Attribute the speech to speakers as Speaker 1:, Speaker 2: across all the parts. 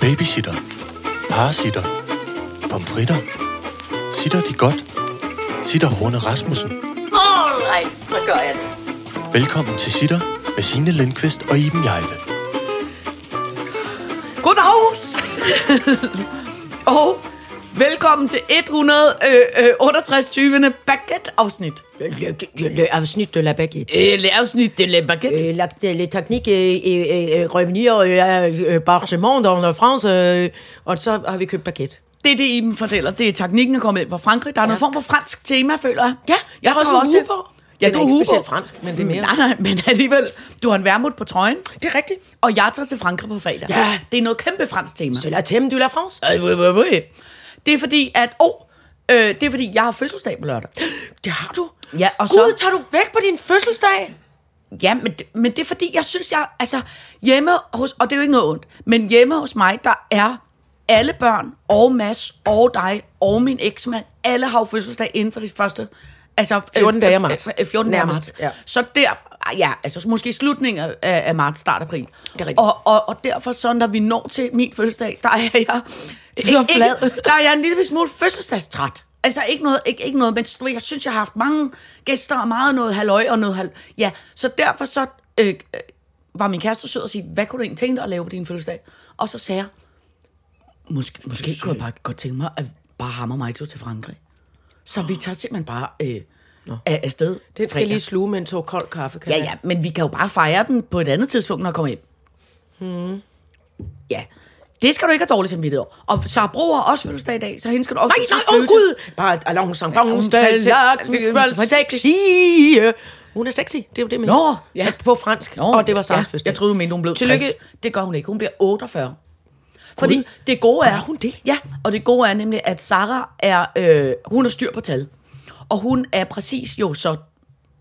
Speaker 1: Babysitter. Parasitter. Pomfritter. Sitter de godt? Sitter Horne Rasmussen.
Speaker 2: Alright, så gør jeg det.
Speaker 1: Velkommen til Sitter med Signe Lindqvist og Iben Jejle.
Speaker 3: Goddag! og velkommen til øh, 168. 20. baguette-afsnit.
Speaker 4: Le, le, le afsnit de la baguette.
Speaker 3: Øh, afsnit, det er baguette.
Speaker 4: Euh, la, les techniques et, et, et, et revenir euh, euh, par chemin dans la France, euh, og så har vi købt baguette.
Speaker 3: Det er det, Iben fortæller. Det er teknikken, der kommer ind fra Frankrig. Der er ja. noget form for fransk tema, føler jeg.
Speaker 4: Ja,
Speaker 3: jeg
Speaker 4: der
Speaker 3: tror
Speaker 4: er
Speaker 3: også til.
Speaker 4: Hugo.
Speaker 3: Ja,
Speaker 4: Den
Speaker 3: du
Speaker 4: er ikke
Speaker 3: Hugo.
Speaker 4: specielt fransk, men det er mere.
Speaker 3: Nej, nej, men alligevel. Du har en værmut på trøjen,
Speaker 4: Det er rigtigt.
Speaker 3: og jeg tager til Frankrig på fredag.
Speaker 4: Ja.
Speaker 3: Det er noget kæmpe fransk tema.
Speaker 4: C'est la thème de la France.
Speaker 3: Ej, hvor- hvor- hvor- Det er fordi, at... Oh, øh, det er fordi, jeg har fødselsdag på lørdag.
Speaker 4: Det har du.
Speaker 3: Ja, og så...
Speaker 4: Gud, tager du væk på din fødselsdag?
Speaker 3: Ja, men, det- men det er fordi, jeg synes, jeg... Altså, hjemme hos... Og det er jo ikke noget ondt. Men hjemme hos mig, der er alle børn, og Mads, og dig, og min eksmand, alle har jo fødselsdag inden for det første... Altså,
Speaker 4: 14 dage af
Speaker 3: øh,
Speaker 4: marts.
Speaker 3: øh, 14 dage af
Speaker 4: Nærmest,
Speaker 3: marts.
Speaker 4: ja.
Speaker 3: Så der... ah, Ja, altså måske slutningen af, af af marts, start april.
Speaker 4: er rigtigt.
Speaker 3: Og, og, og derfor så, når vi når til min fødselsdag, der er jeg...
Speaker 4: Så flad.
Speaker 3: Ikke, der er jeg en lille smule fødselsdagstræt. Altså ikke noget, ikke, ikke noget, men du ved, jeg synes, jeg har haft mange gæster og meget noget halløj og noget hal... Ja, så derfor så øh, øh, var min kæreste sød og sige, hvad kunne du egentlig tænke dig at lave på din fødselsdag? Og så sagde jeg, måske, måske kunne jeg bare godt tænke mig at bare hamre mig til Frankrig. Så vi tager simpelthen bare øh, af, afsted.
Speaker 4: Det skal
Speaker 3: fredag.
Speaker 4: jeg lige sluge med en tår kold kaffe. Kan
Speaker 3: Ja,
Speaker 4: jeg?
Speaker 3: ja, men vi kan jo bare fejre den på et andet tidspunkt, når jeg kommer hjem. Hmm. Ja. Det skal du ikke have dårligt samvittighed over. Og Sara Bro har også fødselsdag i dag, så hende skal du også
Speaker 4: Nej, nej,
Speaker 3: huske at
Speaker 4: åh
Speaker 3: skrive til.
Speaker 4: gud! Bare allons, sang, fang,
Speaker 3: selv-
Speaker 4: sexy. Hun er sexy, det er jo det, jeg mener.
Speaker 3: Nå, ja.
Speaker 4: ja. På fransk,
Speaker 3: Nå,
Speaker 4: og det var Saras
Speaker 3: ja,
Speaker 4: fødselsdag.
Speaker 3: Jeg troede, du mente, hun blev
Speaker 4: Tillykke.
Speaker 3: 60. Det gør hun ikke. Hun bliver 48. Fordi det gode er...
Speaker 4: Gør hun det?
Speaker 3: Ja, og det gode er nemlig, at Sara er... Øh, hun har styr på tal. Og hun er præcis jo så...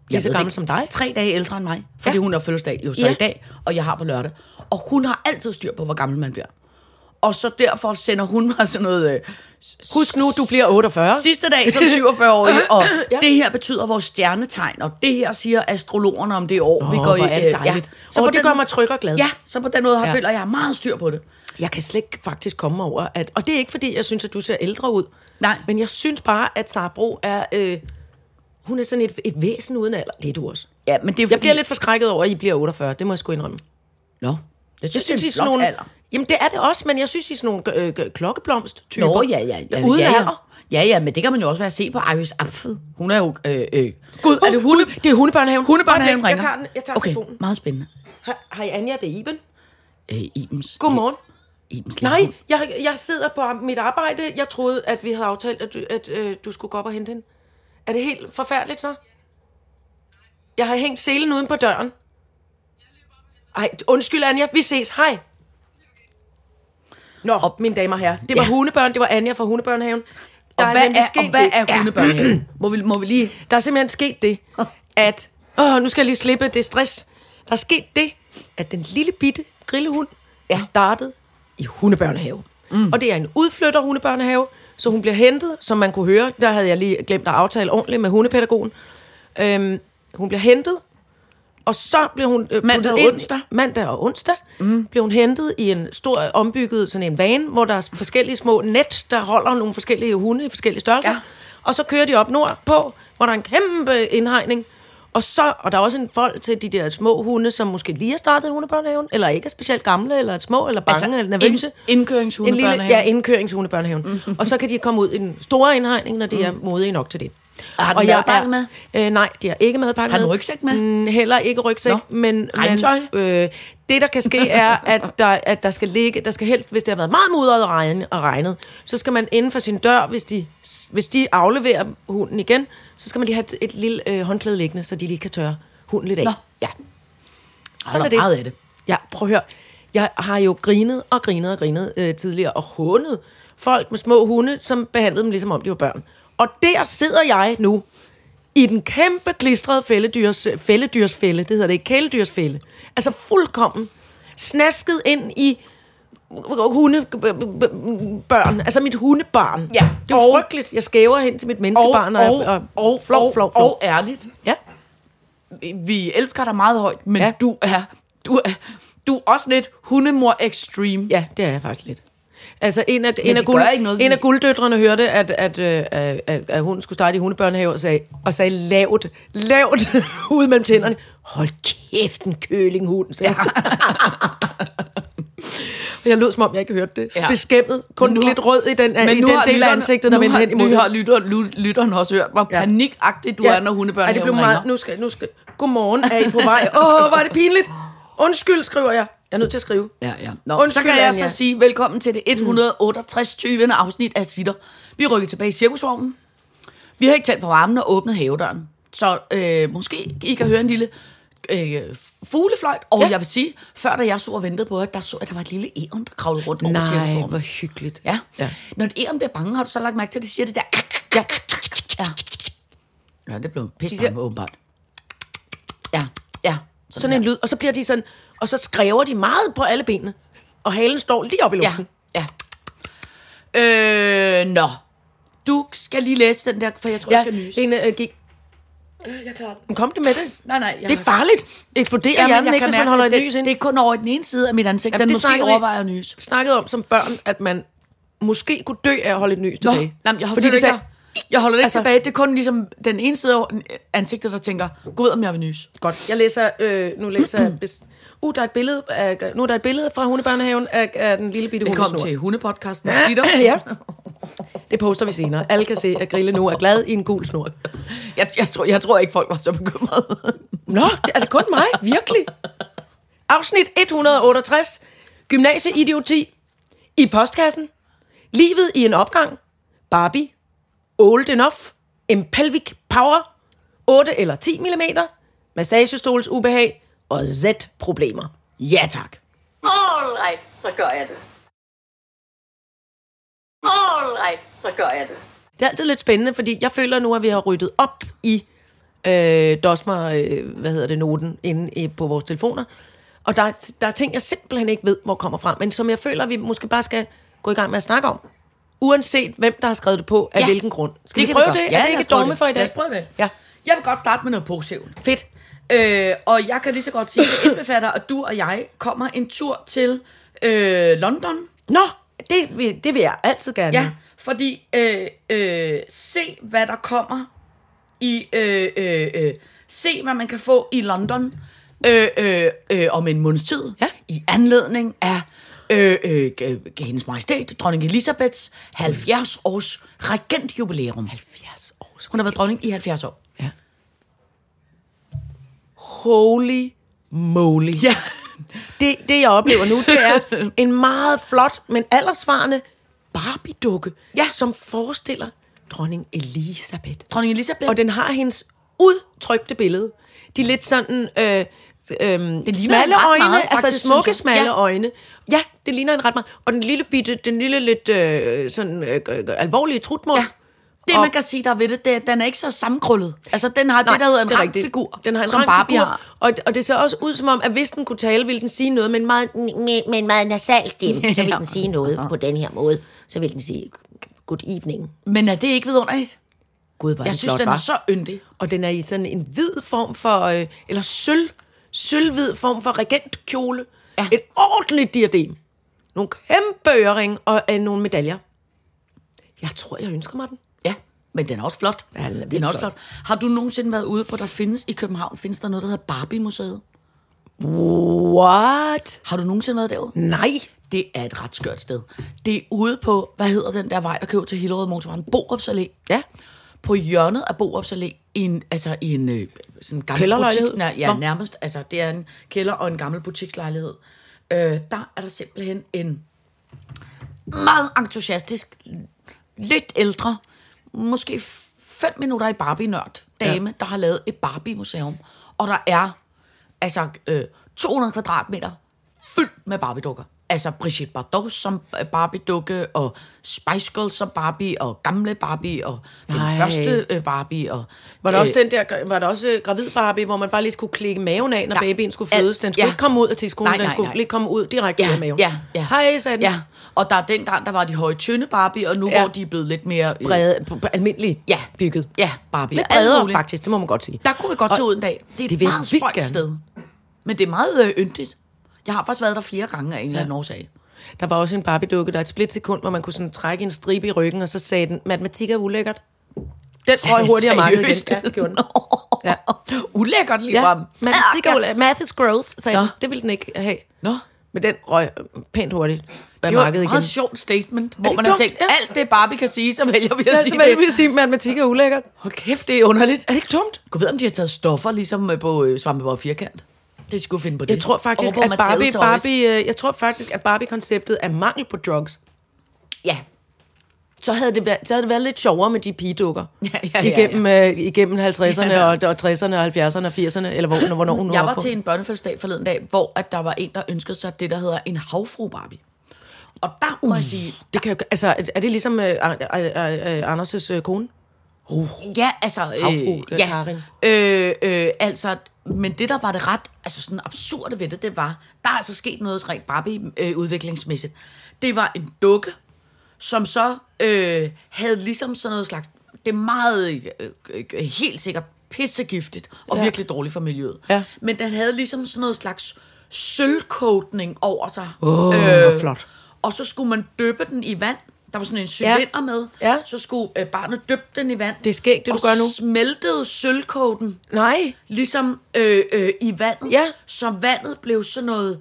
Speaker 4: Lige så
Speaker 3: ved det
Speaker 4: gammel
Speaker 3: ikke,
Speaker 4: som dig.
Speaker 3: Tre dage ældre end mig. Fordi
Speaker 4: Ja.
Speaker 3: hun har fødselsdag jo så
Speaker 4: Ja.
Speaker 3: i dag, og jeg har på lørdag. Og hun har altid styr på, hvor gammel man bliver. Og så derfor sender hun mig sådan noget... Øh,
Speaker 4: Husk nu, du bliver 48.
Speaker 3: Sidste dag som 47-årig, og ja.
Speaker 4: Ja.
Speaker 3: det her betyder vores stjernetegn, og det her siger astrologerne om det år, vi
Speaker 4: Åh,
Speaker 3: går i.
Speaker 4: hvor er det
Speaker 3: øh,
Speaker 4: dejligt. Åh,
Speaker 3: på
Speaker 4: det
Speaker 3: den
Speaker 4: gør
Speaker 3: måde-
Speaker 4: mig tryg og glad.
Speaker 3: Ja, så på den måde har, ja.
Speaker 4: Ja.
Speaker 3: føler jeg, jeg har meget styr på det.
Speaker 4: Jeg kan slet ikke faktisk komme mig over, at, og det er ikke fordi, jeg synes, at du ser ældre ud.
Speaker 3: Nej.
Speaker 4: Men jeg synes bare, at Sara Bro er, øh, hun er sådan et, et væsen uden alder. Det er du også.
Speaker 3: Ja, men det er fordi...
Speaker 4: Jeg bliver lidt forskrækket over, at I bliver 48. Det må jeg sgu indrømme.
Speaker 3: Nå, jeg synes, det er en
Speaker 4: sådan
Speaker 3: flot
Speaker 4: nogle,
Speaker 3: alder.
Speaker 4: Jamen, det er det også, men jeg synes, I er sådan nogle øh, øh, klokkeblomst-typer.
Speaker 3: Nå, ja, ja. ja
Speaker 4: Uden
Speaker 3: ja, ja.
Speaker 4: alder.
Speaker 3: Ja, ja, men det kan man jo også være at se på Iris Apfel. Hun er jo... Øh, øh. Gud, er det
Speaker 4: hunde?
Speaker 3: hunde?
Speaker 4: Det er hundebørnehaven.
Speaker 3: Hundebørnehaven
Speaker 4: Øjeblik,
Speaker 3: ringer.
Speaker 4: Jeg tager, den, jeg tager
Speaker 3: okay,
Speaker 4: telefonen.
Speaker 3: meget spændende.
Speaker 4: Hej- Hej, Anja, det er Iben.
Speaker 3: Øh, Ibens.
Speaker 4: Godmorgen.
Speaker 3: Ibens
Speaker 4: Nej,
Speaker 3: lille hund.
Speaker 4: jeg, jeg sidder på mit arbejde. Jeg troede, at vi havde aftalt, at du, at, øh, du skulle gå op og hente hende. Er det helt forfærdeligt så? Jeg har hængt selen uden på døren. Ej, undskyld Anja, vi ses. Hej. Nå, op, mine damer og herrer. Det var
Speaker 3: Ja.
Speaker 4: ja. hundebørn, det var Anja fra Hundebørnehaven. Der
Speaker 3: Og hvad
Speaker 4: nemlig
Speaker 3: er, og
Speaker 4: sket
Speaker 3: hvad
Speaker 4: det-
Speaker 3: er hundebørnehaven? Må vi, må vi lige...
Speaker 4: Der er simpelthen sket det, at... Åh, nu skal jeg lige slippe det stress. Der er sket det, at den lille bitte grillehund ja. er startet i hundebørnehave. Mm. Og det er en udflytter hundebørnehave, så hun bliver hentet, som man kunne høre. Der havde jeg lige glemt at aftale ordentligt med hundepædagogen. Øhm, hun bliver hentet, og så bliver hun øh,
Speaker 3: Mandag
Speaker 4: puttet
Speaker 3: og
Speaker 4: ind-
Speaker 3: onsdag.
Speaker 4: Mandag og onsdag mm. bliver hun hentet i en stor øh, ombygget sådan en van, hvor der er forskellige små net, der holder nogle forskellige hunde i forskellige størrelser.
Speaker 3: Ja.
Speaker 4: Ja. Og så kører de op nordpå, hvor der er en kæmpe indhegning. Og, så, og der er også en folk til de der små hunde, som måske lige har startet i hundebørnehaven, eller ikke er specielt gamle, eller er små, eller bange, altså, eller nervøse.
Speaker 3: ind- indkøringshundebørnehaven.
Speaker 4: En lille- Ja, indkøringshundebørnehaven. og så kan de komme ud i den store indhegning, når de er modige nok til det.
Speaker 3: Har den
Speaker 4: Og jeg
Speaker 3: madpakke
Speaker 4: er-
Speaker 3: med?
Speaker 4: Øh, nej, de har ikke madpakke
Speaker 3: Har den
Speaker 4: med.
Speaker 3: rygsæk med?
Speaker 4: Mm, heller ikke rygsæk,
Speaker 3: Nå.
Speaker 4: Nå. men...
Speaker 3: Regntøj?
Speaker 4: men øh, det, der kan ske, er, at der, at der skal ligge... Der skal helst, hvis det har været meget mudret og, regn, og regnet, så skal man inden for sin dør, hvis de, hvis de afleverer hunden igen, så skal man lige have et, et lille øh, håndklæde liggende, så de lige kan tørre hunden lidt af.
Speaker 3: Nå.
Speaker 4: Ja.
Speaker 3: der
Speaker 4: Sådan
Speaker 3: er
Speaker 4: er det.
Speaker 3: meget af det.
Speaker 4: Ja, prøv at høre. Jeg har jo grinet og grinet og grinet øh, tidligere og hånet folk med små hunde, som behandlede dem ligesom om de var børn. Og der sidder jeg nu i den kæmpe klistrede fælledyrs, fælledyrsfælde, det hedder det ikke, kæledyrsfælde. Altså fuldkommen snasket ind i hundebørn, altså mit hundebarn.
Speaker 3: Ja.
Speaker 4: Det er jo
Speaker 3: Og-
Speaker 4: frygteligt. Jeg skæver hen til mit
Speaker 3: Og,
Speaker 4: menneskebarn, og,
Speaker 3: og,
Speaker 4: jeg- og,
Speaker 3: og,
Speaker 4: flov,
Speaker 3: og,
Speaker 4: flov, flov.
Speaker 3: og ærligt,
Speaker 4: ja.
Speaker 3: vi elsker dig meget højt, men ja.
Speaker 4: Ja.
Speaker 3: du er du er du er også lidt hundemor extreme.
Speaker 4: ja, det er jeg faktisk lidt. Altså, en af, en
Speaker 3: det
Speaker 4: af, guld,
Speaker 3: gør ikke noget, vi-
Speaker 4: en af gulddøtrene hørte, at, at, øh, at, at, at hun skulle starte i hundebørnehave, og sagde, og sagde lavt, lavt, ud mellem tænderne, hold kæft, en kølinghund. Ja. og jeg lød, som om jeg ikke hørte det.
Speaker 3: Ja.
Speaker 4: Ja. Beskæmmet, kun
Speaker 3: Nu
Speaker 4: nu,
Speaker 3: har-
Speaker 4: lidt rød i den, men i den
Speaker 3: har
Speaker 4: del af
Speaker 3: lytteren-
Speaker 4: ansigtet,
Speaker 3: nu
Speaker 4: der vendte
Speaker 3: har-
Speaker 4: hen imod.
Speaker 3: Nu har lytter, lyt- lytteren også hørt, hvor
Speaker 4: Ja.
Speaker 3: panikagtig du er, når
Speaker 4: Ej, det blev
Speaker 3: hundebørnehaven
Speaker 4: meget,
Speaker 3: ringer.
Speaker 4: nu skal, nu skal, godmorgen, er I på vej? Åh, oh, var det pinligt. Undskyld, skriver jeg. Jeg er nødt til at skrive.
Speaker 3: Ja, ja. Nå, Undskyld,
Speaker 4: Undskyld,
Speaker 3: så kan jeg så
Speaker 4: Anja.
Speaker 3: sige velkommen til det 168. 20. afsnit af Sitter. Vi rykker tilbage i cirkusvognen. Vi har ikke tændt på varmen og åbnet havedøren. Så øh, måske I kan høre en lille øh, fuglefløjt. Og ja.
Speaker 4: Ja.
Speaker 3: jeg vil sige, før da jeg så og ventede på, at der så, at der var et lille æren, der kravlede rundt over
Speaker 4: Nej,
Speaker 3: cirkusvognen.
Speaker 4: hvor hyggeligt.
Speaker 3: Ja. ja.
Speaker 4: Ja.
Speaker 3: Når et æren bliver bange, har du så lagt mærke til, at det siger det der... Ja. Ja, ja det blev pisse
Speaker 4: siger-
Speaker 3: bange, åbenbart. Ja, ja.
Speaker 4: Sådan, sådan en lyd. Og så bliver de sådan, og så skræver de meget på alle benene. Og halen står lige op i
Speaker 3: Ja,
Speaker 4: luften.
Speaker 3: ja. Øh, nå. Du skal lige læse den der, for jeg tror, ja. jeg skal nyse.
Speaker 4: Lene øh, gik.
Speaker 3: Øh,
Speaker 4: Jeg klarer den. Kom det med det.
Speaker 3: Nej, nej. Jeg
Speaker 4: Det er farligt. Eksploderer
Speaker 3: Ja,
Speaker 4: ja,
Speaker 3: men
Speaker 4: hjernen
Speaker 3: jeg
Speaker 4: ikke,
Speaker 3: kan
Speaker 4: hvis man
Speaker 3: mærke,
Speaker 4: holder
Speaker 3: at
Speaker 4: et
Speaker 3: det,
Speaker 4: lys ind.
Speaker 3: Det er kun over i den ene side af mit ansigt.
Speaker 4: Jamen,
Speaker 3: den
Speaker 4: det
Speaker 3: måske
Speaker 4: snakker vi-
Speaker 3: overvejer at nyse.
Speaker 4: snakkede om som børn, at man måske kunne dø af at holde et nys
Speaker 3: Nå,
Speaker 4: tilbage.
Speaker 3: jamen, jeg holder Fordi
Speaker 4: Fordi det
Speaker 3: ikke,
Speaker 4: sagde,
Speaker 3: jeg holder det ikke altså,
Speaker 4: Altså-
Speaker 3: tilbage. Det er kun ligesom den ene side af ansigtet, der tænker, gå ud, om jeg vil nyse.
Speaker 4: Godt. Jeg læser, øh, nu læser jeg... bes- Uh, der er et billede, af, nu er der et billede fra hundebørnehaven af, af den lille bitte
Speaker 3: Velkommen
Speaker 4: hundesnor.
Speaker 3: til hundepodcasten. Sitter.
Speaker 4: Ja. Det poster vi senere. Alle kan se, at Grille nu er glad i en gul snor.
Speaker 3: Jeg, jeg, tror, jeg tror ikke, folk var så bekymrede.
Speaker 4: Nå, det- er det kun mig? Virkelig? Afsnit 168. Gymnasieidioti. I postkassen. Livet i en opgang. Barbie. Old enough. En pelvic power. 8 eller 10 mm. Massagestols ubehag. Og Z-problemer.
Speaker 3: ja, tak.
Speaker 2: All right, så gør jeg det. All right, så gør jeg det.
Speaker 4: Det er altid lidt spændende, fordi jeg føler nu, at vi har ryddet op i øh, Dosmer, øh, hvad hedder det, noten inde i, på vores telefoner. Og der, er- der er ting, jeg simpelthen ikke ved, hvor kommer fra, men som jeg føler, vi måske bare skal gå i gang med at snakke om. Uanset hvem, der har skrevet det på, af
Speaker 3: Ja.
Speaker 4: ja. hvilken grund. Skal
Speaker 3: Det kan
Speaker 4: det vi
Speaker 3: vi
Speaker 4: prøve
Speaker 3: godt.
Speaker 4: det?
Speaker 3: Ja,
Speaker 4: er det
Speaker 3: lad
Speaker 4: ikke
Speaker 3: os
Speaker 4: et
Speaker 3: prøve
Speaker 4: dogme
Speaker 3: det.
Speaker 4: for i dag?
Speaker 3: Lad os prøve det.
Speaker 4: Ja,
Speaker 3: Jeg vil godt starte med noget positivt.
Speaker 4: fedt.
Speaker 3: Øh, og jeg kan lige så godt sige, at det indbefatter, at du og jeg kommer en tur til øh, London.
Speaker 4: Nå, det, vil- det vil jeg altid gerne.
Speaker 3: Ja, fordi øh, øh, se, hvad der kommer i... Øh, øh, øh, se, hvad man kan få i London øh, øh, øh, om en måneds tid.
Speaker 4: Ja.
Speaker 3: I anledning af øh, øh, øh, hendes majestæt, dronning Elisabeths 70 års regentjubilæum. 70 års. Hun har været dronning i 70 år.
Speaker 4: Ja. Holy moly.
Speaker 3: Ja.
Speaker 4: Det, det, jeg oplever nu, det er en meget flot, men aldersvarende Barbie-dukke,
Speaker 3: Ja.
Speaker 4: som forestiller dronning Elisabeth.
Speaker 3: Dronning Elisabeth.
Speaker 4: Og den har hendes udtrykte billede. De lidt sådan... Øh, Øhm, det
Speaker 3: en
Speaker 4: smalle
Speaker 3: ret
Speaker 4: øjne,
Speaker 3: meget,
Speaker 4: altså
Speaker 3: faktisk,
Speaker 4: smukke,
Speaker 3: synes jeg.
Speaker 4: smalle
Speaker 3: Ja.
Speaker 4: øjne. Ja, det ligner en ret meget. Og den lille bitte, den lille lidt øh, sådan øh, øh, alvorlige trutmund.
Speaker 3: Ja. Det,
Speaker 4: Og-
Speaker 3: man kan sige, der er ved det, det er, at den er ikke så sammenkrøllet. Altså, den har Nej, det, der hedder en
Speaker 4: er
Speaker 3: rank
Speaker 4: rigtigt.
Speaker 3: figur,
Speaker 4: Den har en
Speaker 3: som
Speaker 4: rank
Speaker 3: Barbie
Speaker 4: figur,
Speaker 3: har.
Speaker 4: Og, og det ser også ud som om, at hvis den kunne tale, ville den sige noget, men meget...
Speaker 5: med, med en meget nasal stemme, så vil
Speaker 3: Ja.
Speaker 5: den sige noget på den her måde. Så vil den sige, good evening.
Speaker 3: Men er det ikke vidunderligt?
Speaker 4: Gud, hvor
Speaker 3: Jeg synes, den er så yndig.
Speaker 4: Og den er i sådan en hvid form for... Øh, eller sølv. Sølvhvid form for regentkjole.
Speaker 3: Ja.
Speaker 4: Ja. Et ordentligt diadem. Nogle kæmpe øring og øh, nogle medaljer. Jeg tror, jeg ønsker mig den.
Speaker 3: Ja, men den er også flot.
Speaker 4: Ja, den er
Speaker 3: den
Speaker 4: vildt
Speaker 3: er også flot.
Speaker 4: flot.
Speaker 3: Har du nogensinde været ude på, der findes i København, findes der noget, der hedder Barbie-museet?
Speaker 4: What?
Speaker 3: Har du nogensinde været derude?
Speaker 4: Nej.
Speaker 3: Det er et ret skørt sted. Det er ude på, hvad hedder den der vej, der kører til Hillerød Motorvejen? Borups Allé.
Speaker 4: Ja.
Speaker 3: På hjørnet af Borups Allé, i en, altså i en øh, sådan gammel
Speaker 4: Kælderlejlighed?
Speaker 3: butik. Nær, ja,
Speaker 4: Nå.
Speaker 3: nærmest. Altså, det er en kælder og en gammel butikslejlighed. Øh, der er der simpelthen en meget entusiastisk, lidt ældre, måske f- fem minutter i Barbie-nørd dame, ja. der har lavet et Barbie-museum. Og der er altså øh, 200 kvadratmeter fyldt med Barbie-dukker. Altså Brigitte Bardot som øh, Barbie-dukke, og Spice Girls som Barbie, og gamle Barbie, og den
Speaker 4: Nej.
Speaker 3: første øh, Barbie. Og,
Speaker 4: Var der
Speaker 3: øh,
Speaker 4: også den der, var der også øh, gravid Barbie, hvor man bare lige skulle klikke maven af, når
Speaker 3: Der-
Speaker 4: babyen skulle
Speaker 3: Al-
Speaker 4: fødes? Den skulle
Speaker 3: ja.
Speaker 4: ja. ikke komme ud af tidskolen,
Speaker 3: Nej,
Speaker 4: den
Speaker 3: nej,
Speaker 4: skulle
Speaker 3: nej.
Speaker 4: lige komme ud direkte ud af maven.
Speaker 3: Ja, ja.
Speaker 4: Hej, sagde den.
Speaker 3: Ja, og der er dengang, der var de høje, tynde Barbie, og nu ja.
Speaker 4: Ja.
Speaker 3: hvor de er blevet lidt mere... øh,
Speaker 4: Brede, b- b- almindelig
Speaker 3: Ja.
Speaker 4: bygget.
Speaker 3: Ja, Barbie.
Speaker 4: Lidt
Speaker 3: og alt
Speaker 4: bredere
Speaker 3: muligt.
Speaker 4: faktisk, det må man godt sige.
Speaker 3: Der kunne vi godt
Speaker 4: Og
Speaker 3: tage ud en dag. Det er et
Speaker 4: det
Speaker 3: det
Speaker 4: vil jeg
Speaker 3: meget
Speaker 4: vildt
Speaker 3: spøjt
Speaker 4: gerne.
Speaker 3: sted. Men det er meget øh, yndigt. Jeg har faktisk været der flere gange af en eller anden årsag.
Speaker 4: Der var også en Barbie-dukke, der er et splitsekund, hvor man kunne sådan trække en stribe i ryggen, og så sagde den, matematik er ulækkert. Den røg hurtigt af markedet igen.
Speaker 3: Seriøst?
Speaker 4: Ja, det gjorde den. Ja.
Speaker 3: Ulækkert lige
Speaker 4: ja.
Speaker 3: frem.
Speaker 4: matematik er ulækkert. Math is gross, sagde
Speaker 3: Nå.
Speaker 4: den. Det ville den ikke have.
Speaker 3: Nå.
Speaker 4: Men den røg øh, pænt hurtigt af
Speaker 3: Det var et
Speaker 4: markedet
Speaker 3: meget
Speaker 4: igen.
Speaker 3: igen. sjovt statement, hvor
Speaker 4: det
Speaker 3: man har
Speaker 4: dumt?
Speaker 3: tænkt, alt det Barbie kan sige, så vælger vi at
Speaker 4: Ja,
Speaker 3: sige
Speaker 4: så hvad
Speaker 3: det.
Speaker 4: vil jeg sige, matematik er ulækkert?
Speaker 3: Hold kæft, det er underligt.
Speaker 4: Er det ikke dumt?
Speaker 3: Gå ved, om de har taget stoffer, ligesom øh, på øh, Svampebob Firkant. Det skulle finde på det.
Speaker 4: Jeg tror faktisk,
Speaker 3: Over på
Speaker 4: at Barbie,
Speaker 3: Mattel Toys.
Speaker 4: Barbie, øh, jeg tror faktisk, at Barbie-konceptet er mangel på drugs.
Speaker 3: Ja.
Speaker 4: Så havde det været, så havde det været lidt sjovere med de pigedukker.
Speaker 3: Ja, ja, ja,
Speaker 4: igennem, Øh, igennem 50'erne
Speaker 3: Ja.
Speaker 4: og, og 60'erne og 70'erne og 80'erne, eller hvor, hvornår hun nu
Speaker 3: Jeg
Speaker 4: er
Speaker 3: var
Speaker 4: på.
Speaker 3: til en børnefødselsdag forleden dag, hvor at der var en, der ønskede sig det, der hedder en havfru Barbie. Og der må
Speaker 4: Uh.
Speaker 3: jeg sige,
Speaker 4: Det kan, jo- altså, er- er det ligesom øh, Ar- Ar- Ar- Ar- Anders' øh, kone?
Speaker 3: Ja, altså...
Speaker 4: Havfru,
Speaker 3: øh, ja.
Speaker 4: Karin.
Speaker 3: Øh, øh, altså, men det, der var det ret altså sådan absurde ved det, det var, der er altså sket noget rent Barbie-udviklingsmæssigt. det var en dukke, som så øh, havde ligesom sådan noget slags... Det er meget, øh, øh, helt sikkert pissegiftigt og ja. virkelig dårligt for miljøet.
Speaker 4: Ja.
Speaker 3: Men den havde ligesom sådan noget slags sølvcoatning over sig. Øh,
Speaker 4: Åh, hvor flot.
Speaker 3: Og så skulle man døbe den i vand. Der var sådan en cylinder ja. med.
Speaker 4: Ja.
Speaker 3: Så skulle øh, barnet døbe den i vand.
Speaker 4: Det er skægt, det du
Speaker 3: og
Speaker 4: gør nu.
Speaker 3: så smeltede sølvkoden
Speaker 4: Nej.
Speaker 3: ligesom øh, øh, i vandet.
Speaker 4: Ja.
Speaker 3: Så vandet blev sådan noget...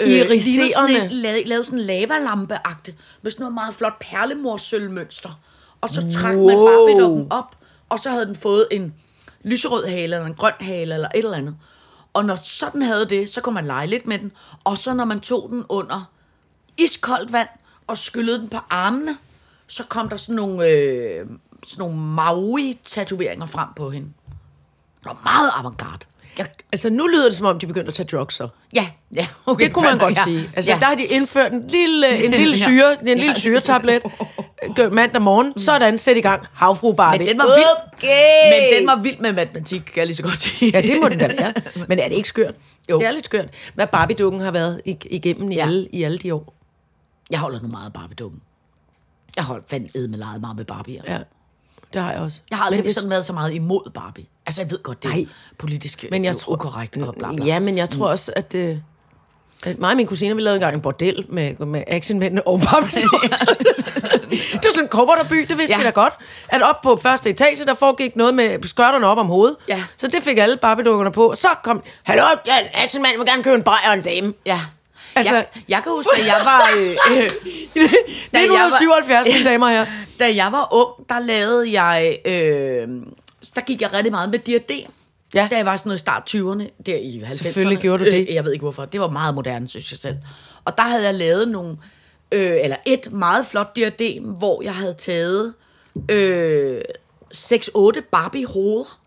Speaker 4: Iriserende.
Speaker 3: lignede Øh, sådan en- la- lavede sådan en lavalampe-agte, med sådan noget meget flot perlemorsølvmønster. Og så trak wow. man
Speaker 4: Wow.
Speaker 3: barbedukken op, og så havde den fået en lyserød hale, eller en grøn hale, eller et eller andet. Og når sådan havde det, så kunne man lege lidt med den. Og så når man tog den under iskoldt vand, og skyllede den på armene, så kom der sådan nogle, øh, sådan nogle Maui-tatoveringer frem på hende. Det var meget avantgarde. Ja,
Speaker 4: Altså, nu lyder det, som om de begyndte at tage drugs, så.
Speaker 3: ja, ja okay,
Speaker 4: Det kunne man
Speaker 3: fandme,
Speaker 4: godt
Speaker 3: ja.
Speaker 4: sige. Altså,
Speaker 3: ja.
Speaker 4: der har de indført en lille, en lille
Speaker 3: Ja. Mm.
Speaker 4: syre, en lille syretablet øh, mandag morgen. Sådan, sæt i gang. Havfru Barbie.
Speaker 3: Men den var vild. Men den var vild med matematik, kan jeg lige så godt sige.
Speaker 4: Ja, det må den da være. Men er det ikke skørt?
Speaker 3: Jo.
Speaker 4: Det er lidt skørt. Hvad Barbie-dukken har været ig- igennem i,
Speaker 3: Ja.
Speaker 4: alle, i alle de år.
Speaker 3: Jeg holder nu meget af Barbie-dukken. Jeg holder fandme med meget, meget med Barbie.
Speaker 4: Ja. Det har jeg også.
Speaker 3: Jeg har aldrig
Speaker 4: Men hvis-
Speaker 3: sådan været så meget imod Barbie. Altså, jeg ved godt, det er
Speaker 4: Nej.
Speaker 3: politisk
Speaker 4: men jeg
Speaker 3: øh,
Speaker 4: tror,
Speaker 3: ukorrekt og bla bla. Mm.
Speaker 4: Ja, men jeg tror også, at... Øh, at mig og min kusine, vi lavede engang en bordel med, med actionmændene og Barbie. det var sådan en kobberterby, det vidste
Speaker 3: Ja.
Speaker 4: ja. vi da godt. At op på første etage, der foregik noget med skørterne op om hovedet.
Speaker 3: Ja.
Speaker 4: Så det fik alle barbie på. Så kom... Hallo, jeg er en actionmand, jeg vil gerne købe en bajer og en dame.
Speaker 3: Ja. Altså,
Speaker 4: Altså-
Speaker 3: jeg, jeg kan huske, at jeg var... Øh, øh,
Speaker 4: Det er 177, mine damer her.
Speaker 3: Da jeg var ung, der lavede jeg... Øh, der gik jeg rigtig meget med diadem. Ja.
Speaker 4: Ja.
Speaker 3: Da jeg var sådan noget i start 20'erne, der i 90'erne.
Speaker 4: Selvfølgelig gjorde du det.
Speaker 3: Øh, jeg ved ikke hvorfor. Det var meget moderne, synes jeg selv. Og der havde jeg lavet nogle... Øh, eller et meget flot diadem, hvor jeg havde taget øh, 6-8 Barbie-hoveder.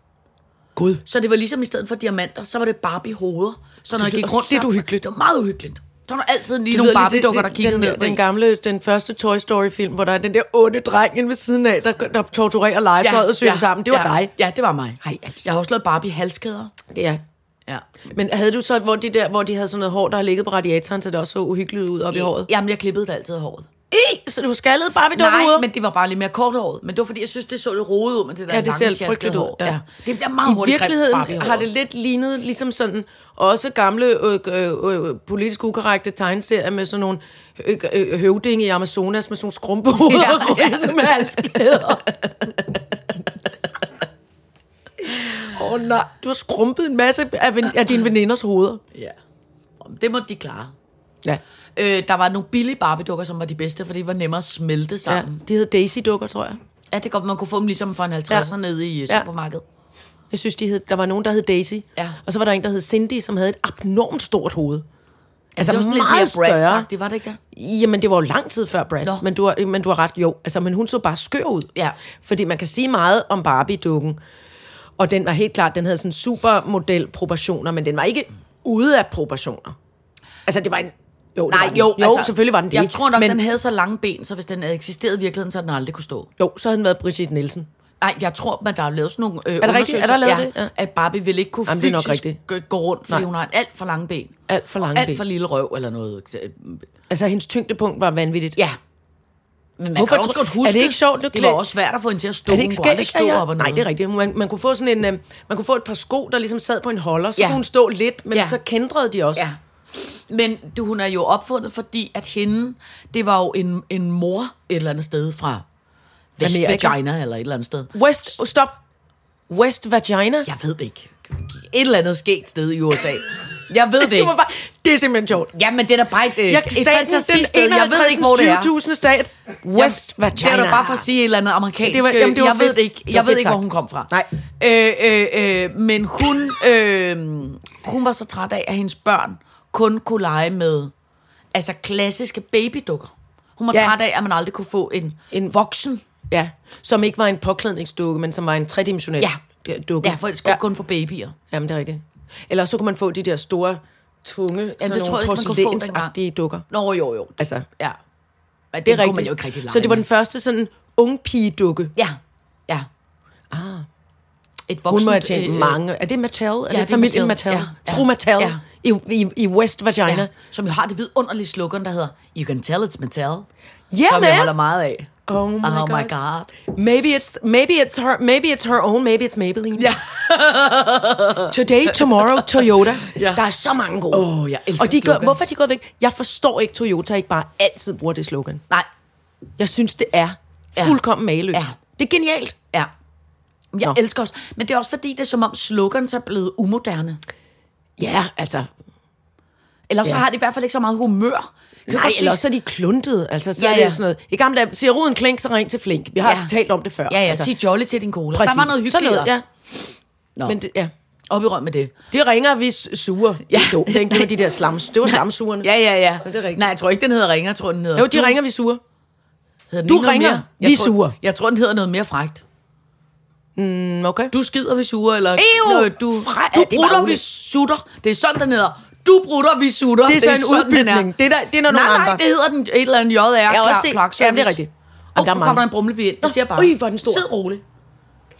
Speaker 4: Gud.
Speaker 3: Så det var ligesom i stedet for diamanter, så var det Barbie-hoveder. Så når jeg
Speaker 4: Det lyder-
Speaker 3: gik rundt,
Speaker 4: det er
Speaker 3: så-
Speaker 4: uhyggeligt.
Speaker 3: Det var meget uhyggeligt. Så var der altid lige
Speaker 4: Det
Speaker 3: nogle
Speaker 4: lyder lidt-
Speaker 3: Barbie-dukker, der
Speaker 4: det-
Speaker 3: kiggede
Speaker 4: den,
Speaker 3: ned.
Speaker 4: den, den gamle, den første Toy Story-film, hvor der er den der onde dreng inde ved siden af, der, der torturerer legetøjet ja, og syr ja, sammen. Det var
Speaker 3: ja,
Speaker 4: dig.
Speaker 3: Ja, det var mig.
Speaker 4: Ej, altså.
Speaker 3: Jeg har også lavet Barbie halskæder.
Speaker 4: Ja.
Speaker 3: Ja.
Speaker 4: Men havde du så, hvor de, der, hvor de havde sådan noget hår, der har ligget på radiatoren, så det også så uhyggeligt ud op i håret?
Speaker 3: Jamen, jeg klippede det altid af håret.
Speaker 4: I, så du skaldede bare ved
Speaker 3: Nej,
Speaker 4: dukker
Speaker 3: men det var bare lidt mere korthåret. Men det var fordi, jeg synes, det så lidt rodet ud med det der
Speaker 4: Ja, det
Speaker 3: lange,
Speaker 4: ser frygteligt
Speaker 3: sjaskede
Speaker 4: ud.
Speaker 3: hår. Ja. Det bliver meget
Speaker 4: I
Speaker 3: hurtigt
Speaker 4: virkeligheden
Speaker 3: grimt
Speaker 4: har det lidt lignet ligesom sådan også gamle øh, øh, øh, politisk ukorrekte tegneserier med sådan nogle øh, øh, høvdinge i Amazonas med sådan nogle skrumpehoveder
Speaker 3: Ja,
Speaker 4: og
Speaker 3: ja.
Speaker 4: ja. med halsklæder. Åh oh, nej, du har skrumpet en masse af, ven, af dine veninders hoveder.
Speaker 3: Ja. Det må de klare.
Speaker 4: Ja.
Speaker 3: Øh, der var nogle billige Barbie-dukker, som var de bedste, for det var nemmere at smelte
Speaker 4: ja.
Speaker 3: sammen. Ja,
Speaker 4: De hed Daisy-dukker, tror jeg.
Speaker 3: ja det er godt, man kunne få dem ligesom fra en 50'er ja.
Speaker 4: Ja.
Speaker 3: nede i øh,
Speaker 4: Ja.
Speaker 3: supermarkedet.
Speaker 4: Jeg synes, de hed, der var nogen, der hed Daisy.
Speaker 3: Ja.
Speaker 4: Og så var der en, der hed Cindy, som havde et abnormt stort hoved. Altså
Speaker 3: det var sådan lidt
Speaker 4: meget
Speaker 3: mere Bratz-agtigt,
Speaker 4: større.
Speaker 3: var det ikke det?
Speaker 4: Jamen, det var jo lang tid før
Speaker 3: Nå.
Speaker 4: Bratz, men du, har, men du har ret, jo. Altså, men hun så bare skør ud.
Speaker 3: Ja.
Speaker 4: Fordi man kan sige meget om Barbie-dukken. Og den var helt klart, den havde sådan supermodel-proportioner, men den var ikke ude af proportioner. Altså, det var en... Jo, det var den. jo altså, selvfølgelig var den det.
Speaker 3: Jeg tror nok,
Speaker 4: men,
Speaker 3: men... den havde så lange ben, så hvis den havde eksisteret i virkeligheden, så havde den aldrig kunne stå.
Speaker 4: Jo, så havde den været Brigitte Nielsen.
Speaker 3: Nej, jeg tror, at der er lavet sådan nogle øh,
Speaker 4: rigtigt? Er der lavet det?
Speaker 3: ja,
Speaker 4: Ja.
Speaker 3: At Barbie vil ikke kunne Jamen,
Speaker 4: Jamen, det er nok
Speaker 3: fysisk gå, gå rundt, fordi Nej.
Speaker 4: Nej.
Speaker 3: hun har en alt for lange ben.
Speaker 4: Alt for lange
Speaker 3: Alt for
Speaker 4: ben.
Speaker 3: lille røv eller noget. Øh,
Speaker 4: Altså, hendes tyngdepunkt var vanvittigt.
Speaker 3: Ja. Men man
Speaker 4: Hvorfor
Speaker 3: kan også
Speaker 4: tror-
Speaker 3: godt huske,
Speaker 4: er det ikke sjovt,
Speaker 3: det,
Speaker 4: det
Speaker 3: det var
Speaker 4: klæd-
Speaker 3: også svært at få hende til at stå.
Speaker 4: Er det ikke
Speaker 3: hun kunne aldrig
Speaker 4: skægt,
Speaker 3: stå
Speaker 4: at jeg...
Speaker 3: op og
Speaker 4: Nej,
Speaker 3: noget.
Speaker 4: det er rigtigt. Man, man kunne få sådan en... Øh, man kunne få et par sko, der ligesom sad på en holder. Så
Speaker 3: Ja.
Speaker 4: ja. kunne hun stå lidt, men
Speaker 3: Ja.
Speaker 4: ja. så kendrede de også.
Speaker 3: Ja. Men det, hun er jo opfundet, fordi at hende, det var jo en, en mor et eller andet sted fra West
Speaker 4: Amerika.
Speaker 3: Virginia eller et eller andet sted.
Speaker 4: West, oh, stop. West Vagina.
Speaker 3: Jeg ved det ikke. Et eller andet sket sted i USA. Jeg ved det
Speaker 4: Det,
Speaker 3: ikke.
Speaker 4: var bare, det er simpelthen sjovt.
Speaker 3: Jamen, det er da bare et, jeg, et
Speaker 4: staten,
Speaker 3: fantasisted.
Speaker 4: den
Speaker 3: Jeg ved ikke, hvor det er.
Speaker 4: 20.000 stat. West
Speaker 3: Jamen,
Speaker 4: Vagina.
Speaker 3: Det er da bare for at sige et eller andet amerikansk.
Speaker 4: Det var- jamen, det var
Speaker 3: jeg ved
Speaker 4: fedt.
Speaker 3: det ikke.
Speaker 4: Det var
Speaker 3: Jeg ved
Speaker 4: fedt
Speaker 3: ikke,
Speaker 4: sagt.
Speaker 3: hvor hun kom fra.
Speaker 4: Nej.
Speaker 3: Øh, øh, øh, men hun, øh, hun var så træt af, at hendes børn kun kunne lege med altså klassiske babydukker. Hun var
Speaker 4: Ja.
Speaker 3: ja. træt af, at man aldrig kunne få en, en voksen.
Speaker 4: Ja, som ikke var en påklædningsdukke, men som var en tredimensionel
Speaker 3: Ja.
Speaker 4: dukke.
Speaker 3: Derfor skulle ja. kun få babyer.
Speaker 4: Jamen, det er rigtigt. Eller så kunne man få de der store, tunge, Jamen, sådan
Speaker 3: det tror jeg ikke,
Speaker 4: nogle
Speaker 3: man kunne få dengang.
Speaker 4: porcelænsagtige dukker.
Speaker 3: Nå, jo, jo.
Speaker 4: Altså, det
Speaker 3: Ja. Men det,
Speaker 4: er
Speaker 3: det
Speaker 4: rigtigt.
Speaker 3: kunne man jo ikke rigtig lege
Speaker 4: så det var
Speaker 3: med.
Speaker 4: den første sådan ungpigedukke.
Speaker 3: Ja, ja. Ah. Et
Speaker 4: Hun
Speaker 3: voksent,
Speaker 4: må have tjent
Speaker 3: øh,
Speaker 4: øh, mange. Er det Mattel? Ja,
Speaker 3: det
Speaker 4: Eller
Speaker 3: er
Speaker 4: det familien
Speaker 3: Mattel.
Speaker 4: Mattel?
Speaker 3: Ja,
Speaker 4: Fru
Speaker 3: ja,
Speaker 4: Mattel
Speaker 3: ja.
Speaker 4: i, i, i West Vagina.
Speaker 3: Ja,
Speaker 4: Ja.
Speaker 3: som jo har det vidunderlige slogan, der hedder You can tell it's Mattel.
Speaker 4: Yeah,
Speaker 3: som
Speaker 4: man.
Speaker 3: jeg holder meget af.
Speaker 4: Oh my
Speaker 3: oh my
Speaker 4: God.
Speaker 3: god.
Speaker 4: Maybe it's maybe it's her maybe it's her own maybe it's Maybelline. Ja. Today, tomorrow, Toyota. Ja. Der er så mange gode.
Speaker 3: Åh, jeg elsker
Speaker 4: Og de gør,
Speaker 3: slogans.
Speaker 4: hvorfor er de gået væk? Jeg forstår ikke Toyota ikke bare altid bruger det slogan.
Speaker 3: Nej,
Speaker 4: Jeg synes det er
Speaker 3: Ja.
Speaker 4: fuldkommen mageløst.
Speaker 3: Ja.
Speaker 4: Det er genialt.
Speaker 3: ja. Jeg Nå.
Speaker 4: Nå.
Speaker 3: elsker også. Men det er også fordi, det er som om slogans er blevet umoderne.
Speaker 4: Ja, altså.
Speaker 3: Eller så
Speaker 4: Ja.
Speaker 3: ja. har de i hvert fald ikke så meget humør. Kan du
Speaker 4: Nej,
Speaker 3: godt
Speaker 4: eller
Speaker 3: sige-
Speaker 4: også så er de kluntede. Altså, så ja,
Speaker 3: Ja,
Speaker 4: ja. er
Speaker 3: ja.
Speaker 4: det sådan noget. I gamle dage, siger ruden klink, så ring til flink. Vi har ja. talt om det før.
Speaker 3: Ja, ja,
Speaker 4: Altså,
Speaker 3: altså, sig jolly til din cola.
Speaker 4: præcis.
Speaker 3: Der var noget
Speaker 4: Sådan
Speaker 3: hyggeligt.
Speaker 4: noget, ja.
Speaker 3: Nå.
Speaker 4: Men det, ja.
Speaker 3: Op i røm med det.
Speaker 4: Det ringer, vi s- suger. Ja. Det, er dumt, ikke? det var de der slams. Det var slamsugerne.
Speaker 3: Ja, ja, ja.
Speaker 4: Men det er rigtigt.
Speaker 3: Nej, jeg tror ikke, den hedder ringer. Jeg tror, den hedder...
Speaker 4: Jo, de ringer, vi suger.
Speaker 3: Hedder den
Speaker 4: du
Speaker 3: ikke noget
Speaker 4: ringer,
Speaker 3: mere? Jeg
Speaker 4: vi
Speaker 3: tror,
Speaker 4: sure.
Speaker 3: Jeg tror, den hedder noget mere frægt.
Speaker 4: Mm, okay.
Speaker 3: Du skider, vi suger, eller...
Speaker 4: Ew!
Speaker 3: Øh, du,
Speaker 4: Fra-
Speaker 3: du
Speaker 4: Ja, det er
Speaker 3: brutter,
Speaker 4: bare
Speaker 3: vi sutter. Det er sådan, den hedder. Du brutter, vi sutter.
Speaker 4: Det er så en
Speaker 3: sådan, den er.
Speaker 4: udbygning. Det er der- det er der
Speaker 3: nej,
Speaker 4: nogle andre.
Speaker 3: Nej, det hedder den et eller andet JR. Jeg
Speaker 4: har
Speaker 3: har
Speaker 4: også set- Jamen, det er rigtigt.
Speaker 3: Åh, oh,
Speaker 4: der
Speaker 3: der
Speaker 4: er mange.
Speaker 3: kommer der en brumlebi ind. Jeg siger bare.
Speaker 4: Øj, hvor er den stor.
Speaker 3: Sid rolig.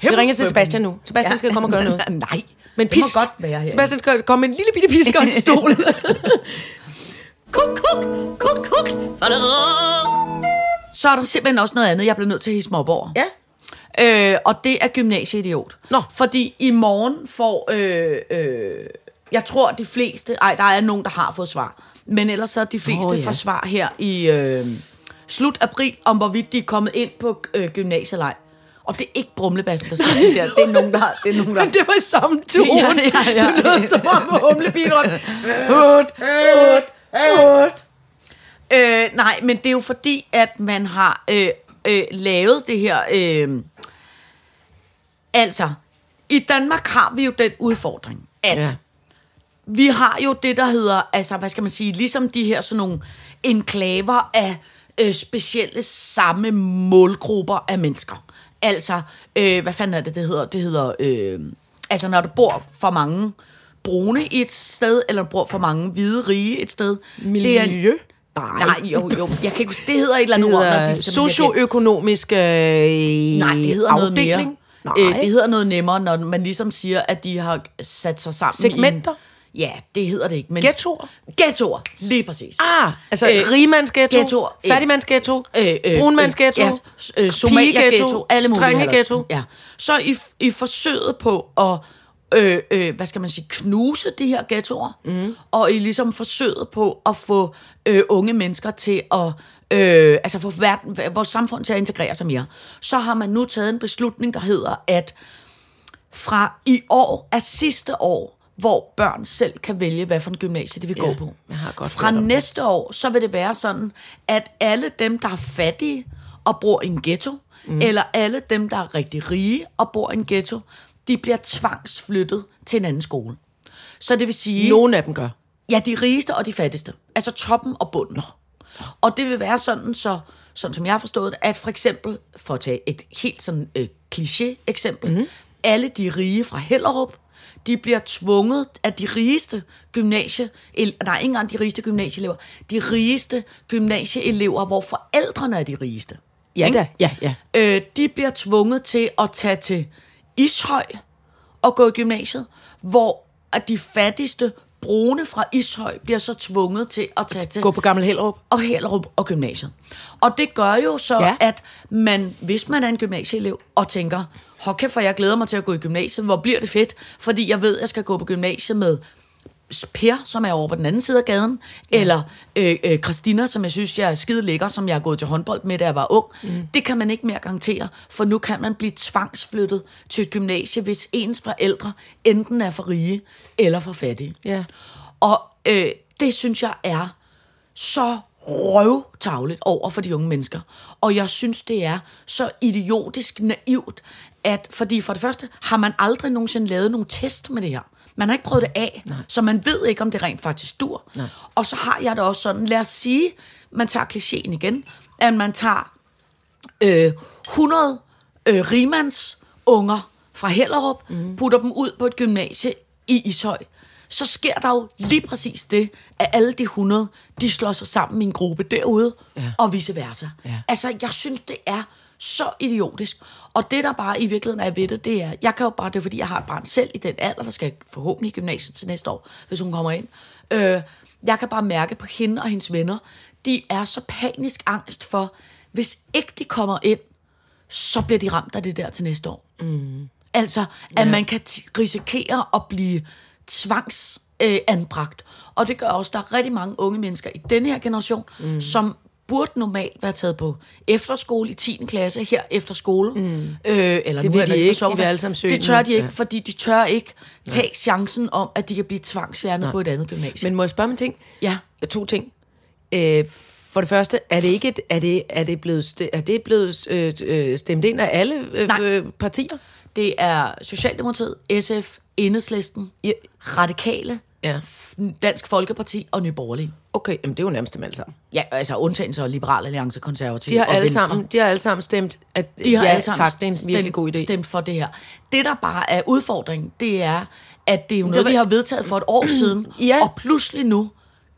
Speaker 4: Vi ringer til Sebastian nu. Sebastian ja. skal komme og gøre noget.
Speaker 3: Nej.
Speaker 4: Men
Speaker 3: Det må
Speaker 4: pisk.
Speaker 3: godt være herinde.
Speaker 4: Sebastian skal komme med en lille bitte pisk og en stol.
Speaker 2: Kuk, kuk, kuk, kuk.
Speaker 3: Så er der simpelthen også noget andet, jeg bliver nødt til at hisse mig op over.
Speaker 4: ja.
Speaker 3: Øh, og det er gymnasieidiot.
Speaker 4: Nå.
Speaker 3: Fordi i morgen får... Øh, øh, jeg tror, de fleste... Ej, der er nogen, der har fået svar. Men ellers så er de fleste
Speaker 4: Nå,
Speaker 3: oh,
Speaker 4: ja.
Speaker 3: ja. får svar her i øh, slut april, om hvorvidt de er kommet ind på øh, gymnasielej. Og det er ikke brumlebassen, der siger det der. Det er nogen, der har... Det er nogen, der...
Speaker 4: Men det var i samme tone.
Speaker 3: Ja, ja, ja.
Speaker 4: Det lød som om at humlebilen rundt. Hurt, hurt, hurt.
Speaker 3: Øh, nej, men det er jo fordi, at man har øh, øh, lavet det her... Øh, altså, i Danmark har vi jo den udfordring, at
Speaker 4: Ja.
Speaker 3: ja. vi har jo det, der hedder, altså, hvad skal man sige, ligesom de her sådan nogle enklaver af øh, specielle samme målgrupper af mennesker. Altså, øh, hvad fanden er det, det hedder? Det hedder, øh, altså, når der bor for mange brune i et sted, eller der bor for mange hvide rige et sted. Det er en-
Speaker 4: Miljø?
Speaker 3: Nej. Nej, jo, jo. Jeg kan ikke huske. Det hedder et eller andet ord. når de-
Speaker 4: socioøkonomisk øh,
Speaker 3: Nej, det hedder noget mere.
Speaker 4: afdeling?
Speaker 3: Øh,
Speaker 4: Nej.
Speaker 3: det hedder noget nemmere, når man ligesom siger, at de har sat sig sammen
Speaker 4: Segmenter?
Speaker 3: i en, Ja, det hedder det ikke. Men
Speaker 4: Ghettoer?
Speaker 3: Ghettoer, lige præcis.
Speaker 4: Ah, altså øh,
Speaker 3: Øh,
Speaker 4: rigmandsghetto,
Speaker 3: ghettoer, øh,
Speaker 4: fattigmandsghetto, øh, øh, brunmandsghetto,
Speaker 3: ja, s- øh, somalierghetto, alle mulige.
Speaker 4: drengeghetto.
Speaker 3: halløj. Ja. Så i, f- i forsøget på at, øh, øh, hvad skal man sige, knuse de her ghettoer, mm. og i ligesom forsøget på at få øh, unge mennesker til at, øh, altså få verden, vores samfund til at integrere sig mere, så har man nu taget en beslutning, der hedder, at fra i år er sidste år, hvor børn selv kan vælge, hvad for en gymnasie de vil ja, gå på.
Speaker 4: jeg har godt
Speaker 3: Fra
Speaker 4: hørt om det.
Speaker 3: næste år, så vil det være sådan, at alle dem, der er fattige og bor i en ghetto, mm. eller alle dem, der er rigtig rige og bor i en ghetto, de bliver tvangsflyttet til en anden skole. Så det vil sige...
Speaker 4: Nogle af dem gør.
Speaker 3: Ja, de rigeste og de fattigste. Altså toppen og bunden. Og det vil være sådan, så, sådan som jeg har forstået det, at for eksempel, for at tage et helt sådan øh, kliché-eksempel,
Speaker 4: Mhm.
Speaker 3: mm-hmm. alle de rige fra Hellerup, de bliver tvunget af de rigeste gymnasie, el- nej, ikke engang de rigeste gymnasieelever, de rigeste gymnasieelever, hvor forældrene er de rigeste.
Speaker 4: Ja
Speaker 3: Ikke?
Speaker 4: da, ja, ja.
Speaker 3: øh, de bliver tvunget til at tage til Ishøj og gå i gymnasiet, hvor at de fattigste brune fra Ishøj bliver så tvunget til at tage til
Speaker 4: Gå på Gammel Hellerup.
Speaker 3: og Hellerup og gymnasiet. Og det gør jo så,
Speaker 4: Ja.
Speaker 3: ja. at man, hvis man er en gymnasieelev og tænker, hvor kæft, for jeg glæder mig til at gå i gymnasiet, hvor bliver det fedt, fordi jeg ved, at jeg skal gå på gymnasiet med Per, som er over på den anden side af gaden, ja. eller øh, øh, Christina, som jeg synes, jeg er skide lækker, som jeg har gået til håndbold med, da jeg var ung. Mm. Det kan man ikke mere garantere, for nu kan man blive tvangsflyttet til et gymnasie, hvis ens forældre enten er for rige eller for fattige.
Speaker 4: Ja.
Speaker 3: Og øh, det synes jeg er så røvtavligt over for de unge mennesker. Og jeg synes, det er så idiotisk naivt, at fordi for det første har man aldrig nogensinde lavet nogle test med det her. Man har ikke prøvet det af, Nej. så man ved ikke, om det rent faktisk dur. Nej. Og så har jeg det også sådan, lad os sige, man tager klichéen igen, at man tager øh, 100 øh, rimands unger fra Hellerup, mm. putter dem ud på et gymnasie i Ishøj, så sker der jo lige præcis det, at alle de 100, de slår sig sammen i en gruppe derude, ja. og vice versa. Ja. Altså, jeg synes, det er så idiotisk. Og det, der bare i virkeligheden er ved det, det er, jeg kan jo bare, det er fordi, jeg har et barn selv i den alder, der skal forhåbentlig i gymnasiet til næste år, hvis hun kommer ind. Øh, jeg kan bare mærke på hende og hendes venner, de er så panisk angst for, hvis ikke de kommer ind, så bliver de ramt af det der til næste år. Mm. Altså, at ja. man kan t- risikere at blive tvangsanbragt. Øh, anbragt. og det gør også, at der er rigtig mange unge mennesker i denne her generation, mm. som burde normalt være taget på efterskole i 10. klasse, her efter skole. Mm. Øh, eller
Speaker 4: Det
Speaker 3: nu
Speaker 4: vil
Speaker 3: er
Speaker 4: de ikke.
Speaker 3: for sommer-
Speaker 4: De vil alle sammen søge
Speaker 3: Det tør
Speaker 4: den.
Speaker 3: de ikke,
Speaker 4: Ja.
Speaker 3: ja. fordi de tør ikke tage chancen om, at de kan blive tvangsfjernet på et andet gymnasium.
Speaker 4: Men må jeg spørge om en ting?
Speaker 3: ja.
Speaker 4: To ting. Øh, for det første, er det ikke et, er det, er det blevet, st- er det blevet øh, øh, stemt ind af alle øh,
Speaker 3: Nej.
Speaker 4: øh, partier?
Speaker 3: Det er Socialdemokratiet, SF, Enhedslisten,
Speaker 4: Ja.
Speaker 3: Radikale,
Speaker 4: Ja.
Speaker 3: F- Dansk Folkeparti og Nye Borgerlige.
Speaker 4: Okay, jamen det er jo nærmest dem alle sammen.
Speaker 3: Ja, altså undtagen så Liberal Alliance, Konservative
Speaker 4: De har,
Speaker 3: og
Speaker 4: alle
Speaker 3: Venstre.
Speaker 4: sammen, de har alle sammen stemt, at
Speaker 3: de har
Speaker 4: ja,
Speaker 3: alle sammen
Speaker 4: tak, det er en virkelig
Speaker 3: stemt,
Speaker 4: god idé.
Speaker 3: stemt for det her. Det, der bare er udfordringen, det er, at det er jo noget,
Speaker 4: var-
Speaker 3: vi har vedtaget for et år siden,
Speaker 4: Ja.
Speaker 3: og pludselig nu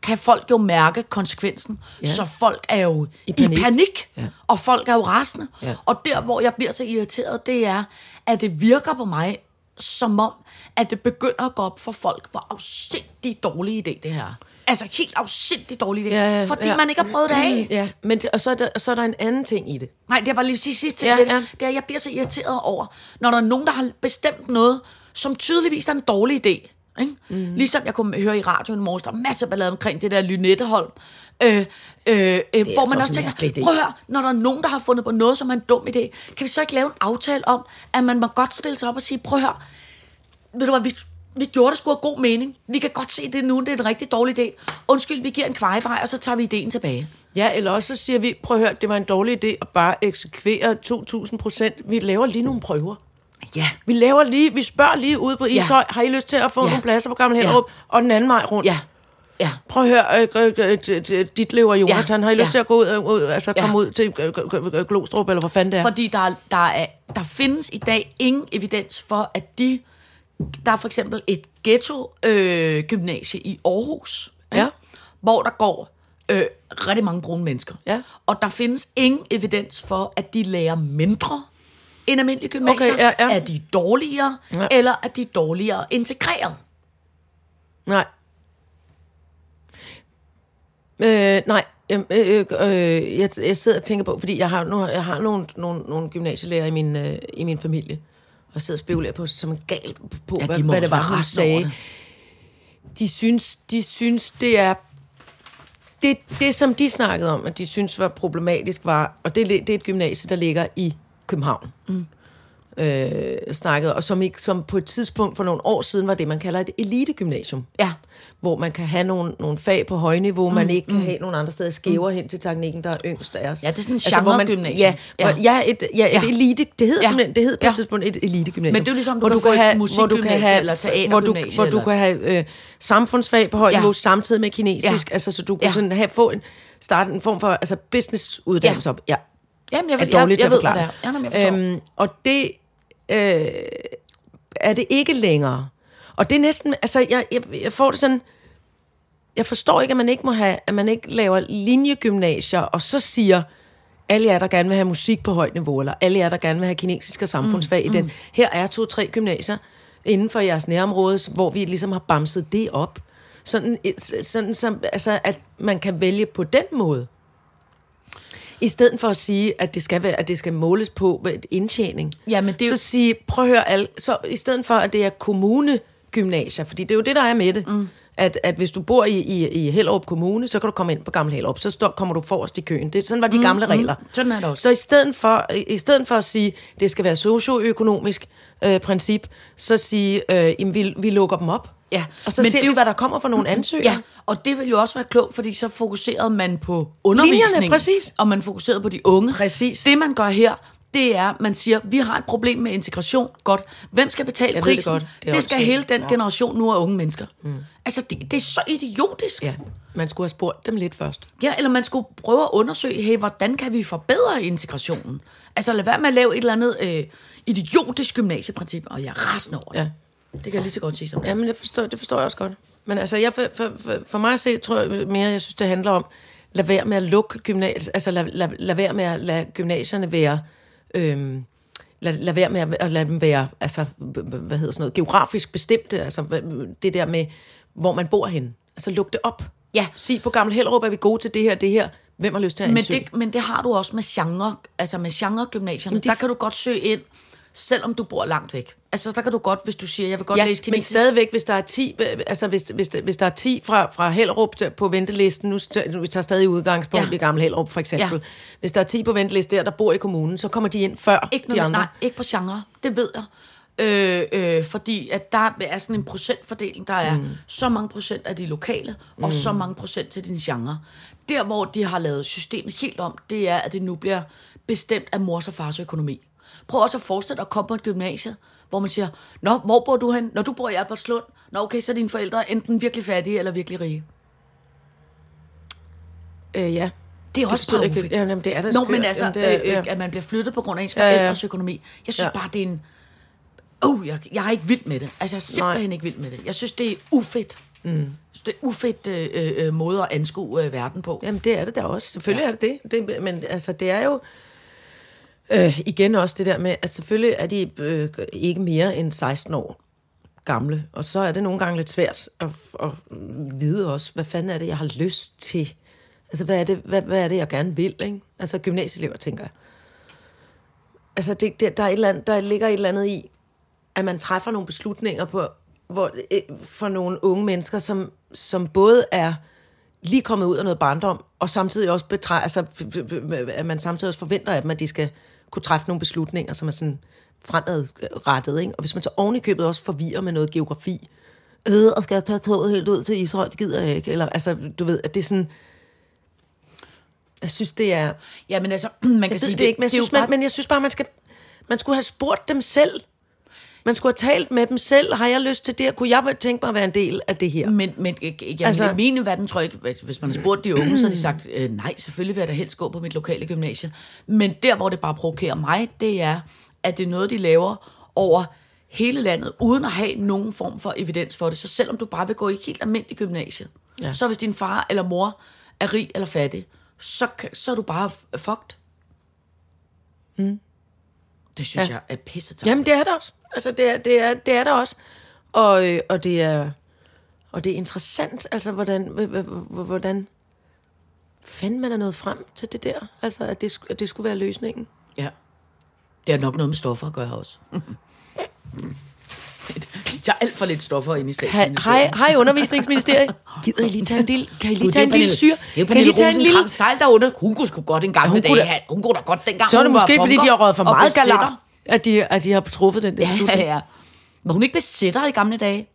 Speaker 3: kan folk jo mærke konsekvensen.
Speaker 4: Ja.
Speaker 3: Ja. Så folk er jo i
Speaker 4: panik.
Speaker 3: panik, i panik
Speaker 4: Ja.
Speaker 3: ja. og folk er jo rasende.
Speaker 4: Ja.
Speaker 3: Ja. Og der, hvor jeg bliver så irriteret, det er, at det virker på mig som om, at det begynder at gå op for folk, hvor afsindig dårlig idé det her er. Altså helt afsindig dårlig idé,
Speaker 4: Ja,
Speaker 3: ja,
Speaker 4: ja,
Speaker 3: ja, fordi
Speaker 4: ja.
Speaker 3: man ikke har prøvet det af.
Speaker 4: Ja, men det, og, så er der, og så er der en anden ting i det.
Speaker 3: Nej, det er bare lige sidste, sidste
Speaker 4: Ja,
Speaker 3: ting. Ja,
Speaker 4: ja.
Speaker 3: ja. Det er, at jeg bliver så irriteret over, når der er nogen, der har bestemt noget, som tydeligvis er en dårlig idé. Ikke?
Speaker 5: Mhm.
Speaker 3: Mm. Ligesom jeg kunne høre i radioen i morges, der er masser af ballade omkring det der Lynetteholm. Øh, øh, øh, hvor man
Speaker 5: altså
Speaker 3: også
Speaker 5: også en
Speaker 3: tænker,
Speaker 5: mærkelig idé.
Speaker 3: prøv at høre, når der er nogen, der har fundet på noget, som er en dum idé, kan vi så ikke lave en aftale om, at man må godt stille sig op og sige, prøv at høre, ved du hvad, vi, vi gjorde det sgu af god mening. Vi kan godt se det nu, det er en rigtig dårlig idé. Undskyld, vi giver en kvejebrej, og så tager vi ideen tilbage.
Speaker 4: Ja, eller også så siger vi, prøv at høre, det var en dårlig idé at bare eksekvere 2.000 procent. Vi laver lige nogle prøver.
Speaker 3: Ja,
Speaker 4: Vi laver lige, vi spørger lige ude på Ishøj, har I lyst til at få
Speaker 3: Ja.
Speaker 4: nogle pladser på Gamle Hellerup? Og den anden vej rundt.
Speaker 3: ja, ja.
Speaker 4: Prøv at høre, øh, øh, øh, øh, øh, dit lever Jonathan, har I lyst
Speaker 3: Ja.
Speaker 4: til at gå ud, øh, ud altså
Speaker 3: Ja.
Speaker 4: komme ud til øh, øh, øh, Glostrup, eller hvor fanden det er?
Speaker 3: Fordi der, der, er, der findes i dag ingen evidens for, at de... Der er for eksempel et ghetto-gymnasie øh, gymnasie i Aarhus, ikke?
Speaker 4: Ja.
Speaker 3: hvor der går øh, rigtig mange brune mennesker.
Speaker 4: Ja.
Speaker 3: Og der findes ingen evidens for, at de lærer mindre end almindelige gymnasier.
Speaker 4: Okay, ja, ja.
Speaker 3: Er de dårligere,
Speaker 4: Ja.
Speaker 3: ja. eller er de dårligere integreret?
Speaker 4: Nej. Øh, nej. Jamen, øh, øh, øh, jeg, jeg sidder og tænker på, fordi jeg har, nu, jeg har nogle, nogle, nogle gymnasielærer i min, øh, i min familie, og sidder og spekulerer på, som en gal på, ja,
Speaker 3: de
Speaker 4: hvad,
Speaker 3: må også
Speaker 4: hvad det var,
Speaker 3: være
Speaker 4: hun
Speaker 3: rasende over
Speaker 4: sagde. De synes, de synes, det er... Det, det, som de snakkede om, at de synes var problematisk, var... Og det, er lidt- det er et gymnasie, der ligger i København. Mm. Øh, snakkede, og som, ikke, som på et tidspunkt for nogle år siden var det, man kalder et elitegymnasium
Speaker 3: Ja.
Speaker 4: hvor man kan have nogle, nogle fag på højniveau, mm, man ikke kan have nogen andre steder skæver mm. hen til teknikken, der er yngst af os. Altså,
Speaker 3: Ja, det er sådan en
Speaker 4: hvor man-
Speaker 3: genregymnasium.
Speaker 4: Ja, ja.
Speaker 3: Ja.
Speaker 4: ja, et, ja, et ja.
Speaker 3: Ja.
Speaker 4: elite, det hedder ja.
Speaker 3: Ja.
Speaker 4: simpelthen, det hedder på ja.
Speaker 3: Ja.
Speaker 4: et tidspunkt et elitegymnasium.
Speaker 3: Men det er jo ligesom, du
Speaker 4: hvor
Speaker 3: kan få et
Speaker 4: hvor du kan
Speaker 3: musikgymnasie
Speaker 4: have,
Speaker 3: eller
Speaker 4: hvor du,
Speaker 3: teatergymnasie
Speaker 4: hvor du
Speaker 3: eller-
Speaker 4: kan have øh, samfundsfag på højt
Speaker 3: Ja.
Speaker 4: niveau samtidig med kinesisk,
Speaker 3: Ja.
Speaker 4: altså så du kan
Speaker 3: Ja.
Speaker 4: sådan have, få en, starte en form for altså businessuddannelse
Speaker 3: Ja.
Speaker 4: op. Ja,
Speaker 3: Jamen, jeg,
Speaker 4: er
Speaker 3: jeg, jeg,
Speaker 4: dårligt
Speaker 3: jeg,
Speaker 4: til
Speaker 3: jeg
Speaker 4: at
Speaker 3: ved, hvad
Speaker 4: forklare.
Speaker 3: det er. Ja, jamen, jeg forstår. Øhm,
Speaker 4: øhm, og det øh, er det ikke længere. Og det er næsten, altså jeg, jeg, jeg får det sådan, jeg forstår ikke, at man ikke må have, at man ikke laver linjegymnasier, og så siger, alle jer, der gerne vil have musik på højt niveau, eller alle jer, der gerne vil have kinesisk og samfundsfag mm, i den. Her er to-tre gymnasier inden for jeres nærområde, hvor vi ligesom har bamset det op. Sådan, et- sådan som, altså, at man kan vælge på den måde. I stedet for at sige, at det skal, være, at det skal måles på ved et indtjening,
Speaker 3: Ja, men det er
Speaker 4: så
Speaker 3: jo-
Speaker 4: sige, prøv at høre, alle, så i stedet for, at det er kommunegymnasier, fordi det er jo det, der er med det, mm. at, at hvis du bor i, i, i Hellerup Kommune, så kan du komme ind på Gammel Hellerup, så står, kommer du forrest i køen. Det, sådan var de gamle regler.
Speaker 3: Mm, Sådan er det også.
Speaker 4: Så i stedet for, i- i stedet for at sige, det skal være socioøkonomisk øh, princip, så sige, øh, jamen, vi, vi lukker dem op.
Speaker 3: Ja,
Speaker 4: Og så
Speaker 3: men
Speaker 4: men ser
Speaker 3: det er
Speaker 4: vi,
Speaker 3: jo- Mm-hmm.
Speaker 4: hvad der kommer for nogle ansøgere.
Speaker 3: Ja, og det ville jo også være klogt, fordi så fokuserede man på undervisning.
Speaker 4: præcis.
Speaker 3: Og man fokuserede på de unge.
Speaker 4: Præcis.
Speaker 3: Det, man gør her, det er, man siger, vi har et problem med integration. Godt. Hvem skal betale
Speaker 4: Jeg ved det
Speaker 3: prisen?
Speaker 4: godt. Det er
Speaker 3: Det, det skal
Speaker 4: åndssvagt.
Speaker 3: hele den generation nu af unge mennesker. Mm. Altså, det, det er så idiotisk.
Speaker 4: ja. Man skulle have spurgt dem lidt først.
Speaker 3: Ja, eller man skulle prøve at undersøge, hey, hvordan kan vi forbedre integrationen? Altså, lad være med at lave et eller andet øh, idiotisk gymnasieprincip, og jeg er rasende over det.
Speaker 4: Ja.
Speaker 3: Det kan jeg lige så godt sige som det. er.
Speaker 4: Jamen, jeg forstår, det forstår jeg også godt. Men altså, jeg, for, for, for, for mig at se, tror jeg mere, jeg synes, det handler om, lad være med at lukke gymnasiet, altså lad, lad, lad være med at lade gymnasierne være, øhm, lad, lad være med at, at lade dem være, altså, h- h- hvad hedder sådan noget, geografisk bestemte, altså h- det der med, hvor man bor henne. Altså, luk det op.
Speaker 3: Ja.
Speaker 4: Sig på Gammel Hellerup, er vi gode til det her, det her. Hvem har lyst til at
Speaker 3: Men
Speaker 4: ansøge?
Speaker 3: det, men det har du også med genre, altså med genregymnasierne.
Speaker 4: det-
Speaker 3: Der kan du godt søge ind, selvom du bor langt væk. Altså, der kan du godt, hvis du siger, jeg vil godt
Speaker 4: Ja,
Speaker 3: læse
Speaker 4: men
Speaker 3: kinesisk.
Speaker 4: stadigvæk, hvis der er 10, øh, altså hvis, hvis, hvis der er 10 fra, fra Hellerup der på ventelisten, nu st- nu- vi tager stadig udgangspunkt ja.
Speaker 3: Ja.
Speaker 4: i Gammel Hellerup for eksempel, ja. hvis der er 10 på ventelisten der, der bor i kommunen, så kommer de ind før
Speaker 3: Ikke,
Speaker 4: de
Speaker 3: noget,
Speaker 4: andre.
Speaker 3: nej, ikke på genre, det ved jeg. Øh, øh, fordi at der er sådan en procentfordeling, der er mm. så mange procent af de lokale, og så
Speaker 4: Mm.
Speaker 3: mange procent til din genre. Der, hvor de har lavet systemet helt om, det er, at det nu bliver bestemt af mors og fars økonomi. Prøv også at forestille dig at komme på et gymnasie, hvor man siger, Nå, hvor bor du hen? Når du bor i Albertslund? Nå, okay, så er dine forældre enten virkelig fattige eller virkelig rige.
Speaker 4: Øh, ja.
Speaker 3: Det er
Speaker 4: Det
Speaker 3: også
Speaker 4: forstod jeg
Speaker 3: bare
Speaker 4: ikke. Jamen, det er
Speaker 3: Nå,
Speaker 4: da skørt.
Speaker 3: men altså,
Speaker 4: Jamen, det er-
Speaker 3: øh, øh,
Speaker 4: ja.
Speaker 3: at man bliver flyttet på grund af ens
Speaker 4: Ja, ja.
Speaker 3: forældres økonomi. Jeg synes
Speaker 4: Ja.
Speaker 3: bare, det er en... Oh, jeg, jeg er ikke vild med det. Altså, jeg er simpelthen
Speaker 4: Nej.
Speaker 3: ikke vild med det. Jeg synes, det er ufedt. Mm. Jeg synes, det er ufedt øh, øh, øh, måde at anskue øh, verden på.
Speaker 4: Jamen, det er det der også. Selvfølgelig ja. er det det. det. Men altså, det er jo... Øh, igen også det der med, at selvfølgelig er de øh, ikke mere end 16 år gamle, og så er det nogle gange lidt svært at, at vide også, hvad fanden er det, jeg har lyst til? Altså, hvad er det, hvad, hvad er det jeg gerne vil, ikke? Altså, gymnasieelever, tænker jeg. Altså, det, det, der, er et eller andet, der ligger et eller andet i, at man træffer nogle beslutninger på, hvor, øh, for nogle unge mennesker, som, som både er lige kommet ud af noget barndom, og samtidig også betræ, altså, f- f- f- at man samtidig også forventer af dem, at de skal kunne træffe nogle beslutninger, som er sådan fremadrettet. Ikke? Og hvis man så oven i købet også forvirrer med noget geografi, øh, og skal jeg tage toget helt ud til Israel, det gider jeg ikke. Eller, altså, du ved, at det er sådan... Jeg synes, det er...
Speaker 3: Ja, men altså, man kan
Speaker 4: Jeg
Speaker 3: sige,
Speaker 4: ved det ikke, men jeg,
Speaker 3: er jo
Speaker 4: synes, man,
Speaker 3: bare-
Speaker 4: men jeg synes bare, man skal, man skulle have spurgt dem selv. Man skulle have talt med dem selv. Har jeg lyst til det her? Kunne jeg tænke mig at være en del af det her?
Speaker 3: Men, men ikke- ikke- jamen,
Speaker 4: Altså-
Speaker 3: altså, i min verden tror jeg ikke, hvis- hvis man har spurgt de unge, så har de sagt, øh, nej, selvfølgelig vil jeg da helst gå på mit lokale gymnasie. Men der, hvor det bare provokerer mig, det er, at det er noget, de laver over hele landet, uden at have nogen form for evidens for det. Så selvom du bare vil gå i et helt almindeligt gymnasie,
Speaker 4: Ja.
Speaker 3: ja. så hvis din far eller mor er rig eller fattig, så, kan- så er du bare f- fucked. Mm. Det synes ja. jeg er pisset
Speaker 4: Jamen, det er der også. Altså, det er, det er, det er der også. Og, øh, og det er... Og det er interessant, altså, hvordan, h- h- h- hvordan fanden man er nået frem til det der. Altså, at det, sk- at det skulle være løsningen.
Speaker 3: Ja. Det har nok noget med stoffer at gøre også. Jeg er alt for lidt stoffer inde i
Speaker 4: Ha-
Speaker 3: statsministeriet.
Speaker 4: Hej, hej undervisningsministeriet. Gider I lige tage en lille, kan I lige tage en lille syre?
Speaker 3: Det er jo
Speaker 4: kan I
Speaker 3: Pernille
Speaker 4: lige tage en lille...
Speaker 3: Rosenkrantz-Teil, der under. Hun kunne sgu godt en gammel
Speaker 4: hun
Speaker 3: dag.
Speaker 4: kunne da-
Speaker 3: have- Hun kunne da godt dengang,
Speaker 4: Så er det
Speaker 3: hun
Speaker 4: måske,
Speaker 3: var
Speaker 4: fordi de har
Speaker 3: bunker
Speaker 4: røget for
Speaker 3: og
Speaker 4: meget
Speaker 3: besætter.
Speaker 4: galater, at de, at de har truffet den der beslutning.
Speaker 3: Ja, ja. Var hun ikke besætter i gamle dage?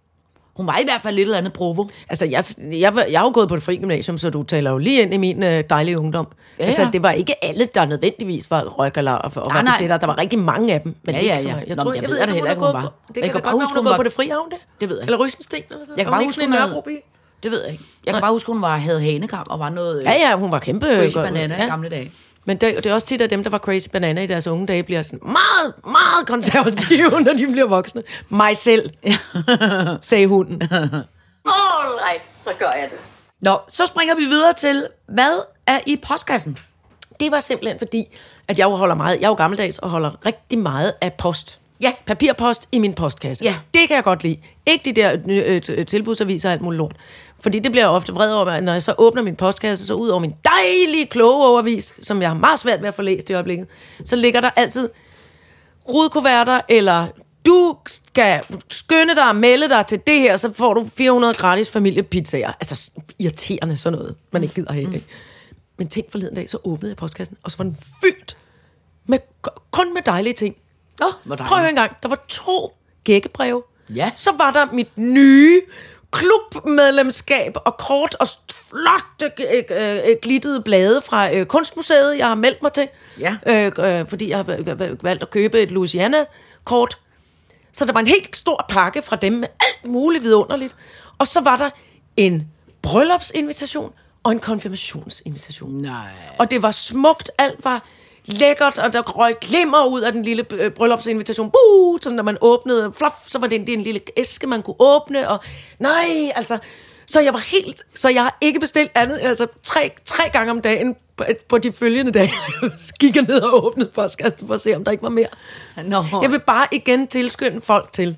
Speaker 3: Hun var i hvert fald et eller andet provo.
Speaker 4: Altså, jeg, jeg, var- jeg er jo gået på et fri gymnasium, så du taler jo lige ind i min øh, dejlige ungdom. Ja,
Speaker 3: Ja,
Speaker 4: altså,
Speaker 3: ja.
Speaker 4: det var ikke alle, der nødvendigvis var røggaller og, og
Speaker 3: Nej,
Speaker 4: var
Speaker 3: nej.
Speaker 4: besætter. Der var rigtig mange af dem. Men
Speaker 3: Ja,
Speaker 4: ikke
Speaker 3: ja,
Speaker 4: så
Speaker 3: ja.
Speaker 4: mange.
Speaker 3: Nå, men jeg ved da
Speaker 4: om
Speaker 3: heller
Speaker 4: har
Speaker 3: ikke,
Speaker 4: gået
Speaker 3: hun var-
Speaker 4: på- Det
Speaker 3: Jeg
Speaker 4: kan
Speaker 3: kan
Speaker 4: da
Speaker 3: bare
Speaker 4: godt være,
Speaker 3: huske, hun
Speaker 4: hun har gået
Speaker 3: var-
Speaker 4: på det fri havn, det.
Speaker 3: Det ved jeg
Speaker 4: Eller Rysensten. Eller sådan
Speaker 3: Jeg kan
Speaker 4: noget.
Speaker 3: bare
Speaker 4: Var
Speaker 3: huske,
Speaker 4: sådan
Speaker 3: hun
Speaker 4: en
Speaker 3: havde-
Speaker 4: Nørrebroby?
Speaker 3: Det ved jeg ikke. Jeg kan bare huske, hun var, havde hanekam og var noget
Speaker 4: Ja, ja, hun var kæmpe...
Speaker 3: crazy
Speaker 4: godt-
Speaker 3: banana
Speaker 4: ja.
Speaker 3: i gamle dage.
Speaker 4: Men det, det er også tit, at dem, der var crazy banana i deres unge dage, bliver sådan meget, meget konservative, når de bliver voksne. Mig selv, sagde hunden.
Speaker 2: Alright, så gør jeg det.
Speaker 3: Nå, så springer vi videre til, hvad er i postkassen?
Speaker 4: Det var simpelthen fordi, at jeg jo holder meget, jeg er jo gammeldags og holder rigtig meget af post.
Speaker 3: Ja.
Speaker 4: Papirpost i min postkasse.
Speaker 3: Ja.
Speaker 4: Det kan jeg godt lide. Ikke de der øh, øh, tilbudsaviser og alt muligt lort. Fordi det bliver jeg ofte vred over, at når jeg så åbner min postkasse, så ud over min dejlige, kloge overvis, som jeg har meget svært ved at få læst i øjeblikket, så ligger der altid rudkuverter eller du skal skynde dig og melde dig til det her, så får du 400 gratis familiepizzaer. Altså s- irriterende sådan noget, man ikke gider have. Ikke? Men tænk forleden dag, så åbnede jeg postkassen, og så var den fyldt med, kun med dejlige ting. Nå,
Speaker 3: hvor dejligt.
Speaker 4: Prøv at høre en gang. Der var to gækkebreve.
Speaker 3: Ja.
Speaker 4: Så var der mit nye klubmedlemskab og kort og flotte øh, øh, øh, glittede blade fra øh, Kunstmuseet, jeg har meldt mig til.
Speaker 3: Ja.
Speaker 4: Øh, øh, fordi jeg har øh, øh, valgt at købe et Louisiana-kort. Så der var en helt stor pakke fra dem med alt muligt vidunderligt. Og så var der en bryllupsinvitation og en konfirmationsinvitation.
Speaker 3: Nej.
Speaker 4: Og det var smukt, alt var lækkert, og der røg glimmer ud af den lille øh, bryllupsinvitation. Buh, så når man åbnede, fluff, så var det en, det er en lille æske, man kunne åbne, og nej, altså... Så jeg var helt... Så jeg har ikke bestilt andet end altså tre, tre gange om dagen på, på de følgende dage. Gik jeg ned og åbnede postkassen for at se, om der ikke var mere.
Speaker 3: Nå.
Speaker 4: Jeg vil bare igen tilskynde folk til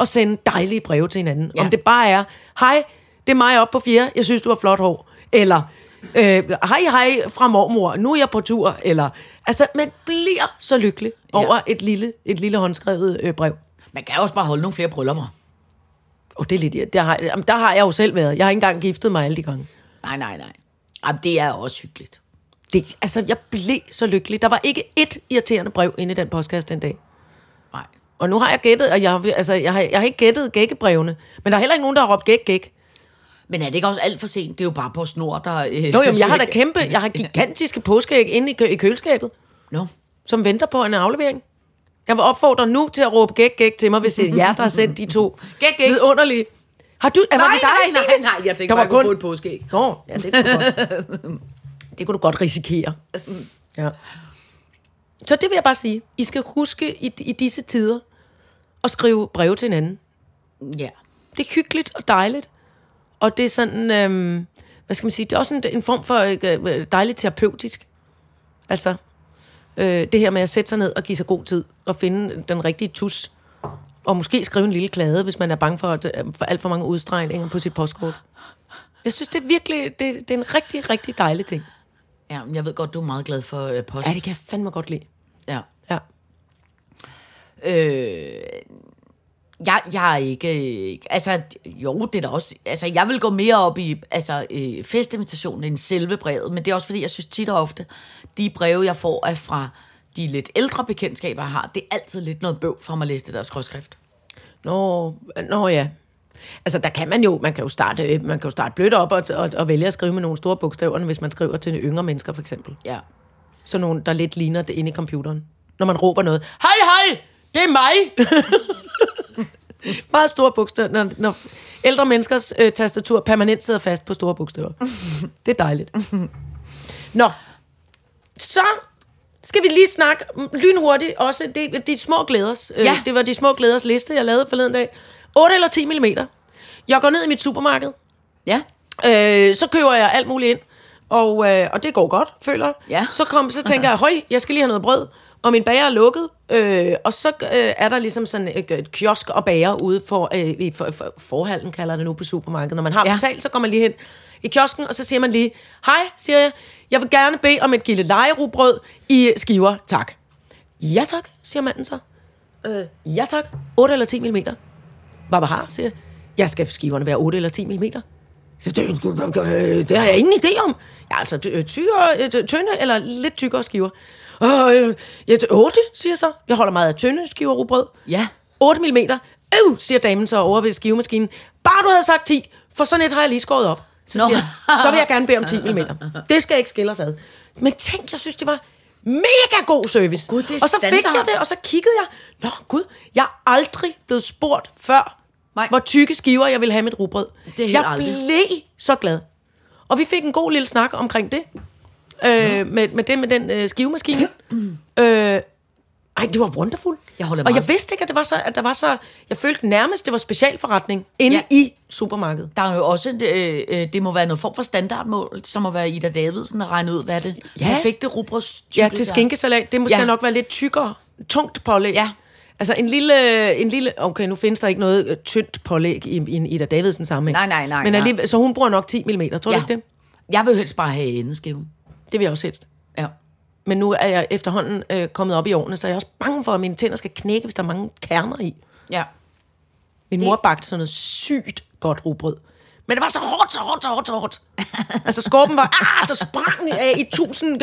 Speaker 4: at sende dejlige breve til hinanden. Ja. Om det bare er, hej, det er mig op på fjerde, jeg synes, du har flot hår. Eller, øh, hej, hej fra mormor, nu er jeg på tur. Eller, altså, man bliver så lykkelig over et lille, et lille håndskrevet øh, brev.
Speaker 3: Man kan jo også bare holde nogle flere bryllupper.
Speaker 4: Og det er lidt, der har, jamen, der har jeg jo selv været. Jeg har ikke engang giftet mig alle de gange.
Speaker 3: Nej, nej, nej. Jamen, det er også hyggeligt.
Speaker 4: Det, altså, jeg blev så lykkelig. Der var ikke et irriterende brev inde i den postkasse den dag.
Speaker 3: Nej.
Speaker 4: Og nu har jeg gættet, og jeg, har- altså, jeg, har, jeg har ikke gættet gækkebrevene. Men der er heller ikke nogen, der har råbt gæk, gæk.
Speaker 3: Men er det ikke også alt for sent? Det er jo bare på snor, der... Øh,
Speaker 4: Jo, jo, men jeg har da kæmpe, jeg har gigantiske påskeæg inde i, kø- i køleskabet,
Speaker 3: Nå.
Speaker 4: som venter på en aflevering. Jeg vil opfordre nu til at råbe gæk, gæk til mig, hvis det er jer, der har sendt de to. Gæk, gæk. Vidunderlige. Har du, nej, var det dig, Signe?
Speaker 3: Jeg
Speaker 4: Der
Speaker 3: tænkte,
Speaker 4: var
Speaker 3: man kunne
Speaker 4: kun-
Speaker 3: få et påskeæg.
Speaker 4: Nå, ja, det kunne, du godt. det kunne du godt risikere. Ja. Så det vil jeg bare sige. I skal huske i, i disse tider at skrive breve til hinanden.
Speaker 3: Ja.
Speaker 4: det er hyggeligt og dejligt. Og det er sådan, øhm, hvad skal man sige, det er også en, en form for øh, dejligt terapeutisk. Altså, øh, det her med at sætte sig ned og give sig god tid og finde den rigtige tus. Og måske skrive en lille klade, hvis man er bange for, at, øh, for alt for mange udstregninger på sit postkort. Jeg synes, det er virkelig, det, det er en rigtig, rigtig dejlig ting.
Speaker 3: Ja, men jeg ved godt, du er meget glad for øh, post.
Speaker 4: Ja, det kan jeg fandme godt lide.
Speaker 3: Ja.
Speaker 4: Ja.
Speaker 3: Øh, jeg, jeg er ikke... Altså, jo, det er da også... Altså, jeg vil gå mere op i altså, øh, festinvitationen end selve brevet, men det er også fordi, jeg synes tit og ofte, de breve, jeg får, er fra de lidt ældre bekendtskaber, jeg har. Det er altid lidt noget bøv for mig at læse det der skråskrift.
Speaker 4: Nå, nå ja. Altså, der kan man jo, man kan jo starte, øh, man kan jo starte blødt op og, og, og vælge at skrive med nogle store bogstaver, hvis man skriver til yngre mennesker, for eksempel.
Speaker 3: Ja.
Speaker 4: Sådan nogle, der lidt ligner det inde i computeren. Når man råber noget, hej, hej, det er mig! Meget store bogstaver, når, når ældre menneskers øh, tastatur permanent sidder fast på store bogstaver. det er dejligt. Nå, så skal vi lige snakke mm, lynhurtigt også. Det, de små glæders. øh,
Speaker 3: Ja.
Speaker 4: Det var de små glæders liste, jeg lavede forleden dag. 8 eller 10 mm. Jeg går ned i mit supermarked.
Speaker 3: Ja.
Speaker 4: Øh, så køber jeg alt muligt ind, og, øh, og det går godt, føler jeg.
Speaker 3: Ja.
Speaker 4: Så, kom, så tænker jeg, høj, jeg skal lige have noget brød, og min bager er lukket. Øh, og så øh, er der ligesom sådan et, et kiosk og bager ude for, øh, i for, for, forhallen, kalder det nu på supermarkedet. Når man har
Speaker 3: Ja.
Speaker 4: ja. betalt, så går man lige hen i kiosken, og så siger man lige, hej, siger jeg, jeg vil gerne bede om et gilde lejerubrød i skiver, tak. Ja tak, siger manden så. Øh, ja tak, 8 eller 10 mm. Baba har, siger jeg. Jeg skal skiverne være 8 eller 10 mm. Så det, det- det, det har jeg ingen idé om. Ja, altså ty- tykkere, øh, ty- tynde eller lidt tykkere skiver. Og øh, jeg, 8, siger jeg så. Jeg holder meget af tynde skiver rugbrød.
Speaker 3: Ja.
Speaker 4: 8 mm. Øv, siger damen så over ved skivemaskinen. Bare du havde sagt 10, for sådan et har jeg lige skåret op. Så,
Speaker 3: Nå.
Speaker 4: siger, jeg, så vil jeg gerne bede om 10 mm. Det skal ikke skille os ad. Men tænk, jeg synes, det var mega god service.
Speaker 3: Gud, det er
Speaker 4: og så fik jeg
Speaker 3: standard.
Speaker 4: det, og så kiggede jeg. Nå, gud, jeg er aldrig blevet spurgt før,
Speaker 3: Nej.
Speaker 4: hvor tykke skiver jeg ville have mit rugbrød.
Speaker 3: Det er helt
Speaker 4: jeg
Speaker 3: aldrig.
Speaker 4: blev så glad. Og vi fik en god lille snak omkring det. Øh, med, med det med den øh, skivemaskine. øh, ej, det var wonderful.
Speaker 3: Jeg holder
Speaker 4: og
Speaker 3: meget-
Speaker 4: jeg vidste ikke, at, det var så, at der var så... Jeg følte nærmest, det var specialforretning inde
Speaker 3: Ja.
Speaker 4: ja. i supermarkedet.
Speaker 3: Der er jo også, øh, øh, det må være noget form for standardmål, som må være Ida Davidsen at regne ud, hvad det
Speaker 4: Ja.
Speaker 3: perfekte rugbrøds
Speaker 4: Ja, til skinkesalat. Det måske
Speaker 3: Ja.
Speaker 4: ja. nok være lidt tykkere. Tungt pålæg.
Speaker 3: Ja.
Speaker 4: Altså en lille, en lille... Okay, nu findes der ikke noget øh, tyndt pålæg i, i en Ida Davidsen sammenhæng.
Speaker 3: Nej, nej, nej,
Speaker 4: Men
Speaker 3: nej.
Speaker 4: alligevel, så hun bruger nok 10 mm, tror ja.
Speaker 3: Ja.
Speaker 4: du ikke det?
Speaker 3: Jeg vil helst bare have endeskiven.
Speaker 4: Det vil jeg også helst.
Speaker 3: Ja.
Speaker 4: Men nu er jeg efterhånden øh, kommet op i årene, så jeg er også bange for, at mine tænder skal knække, hvis der er mange kerner i.
Speaker 3: Ja.
Speaker 4: Min mor bagte sådan noget sygt godt rugbrød. Men det var så hårdt, så hårdt, så hårdt, så hårdt. altså skorpen var, ah, der sprang af i tusind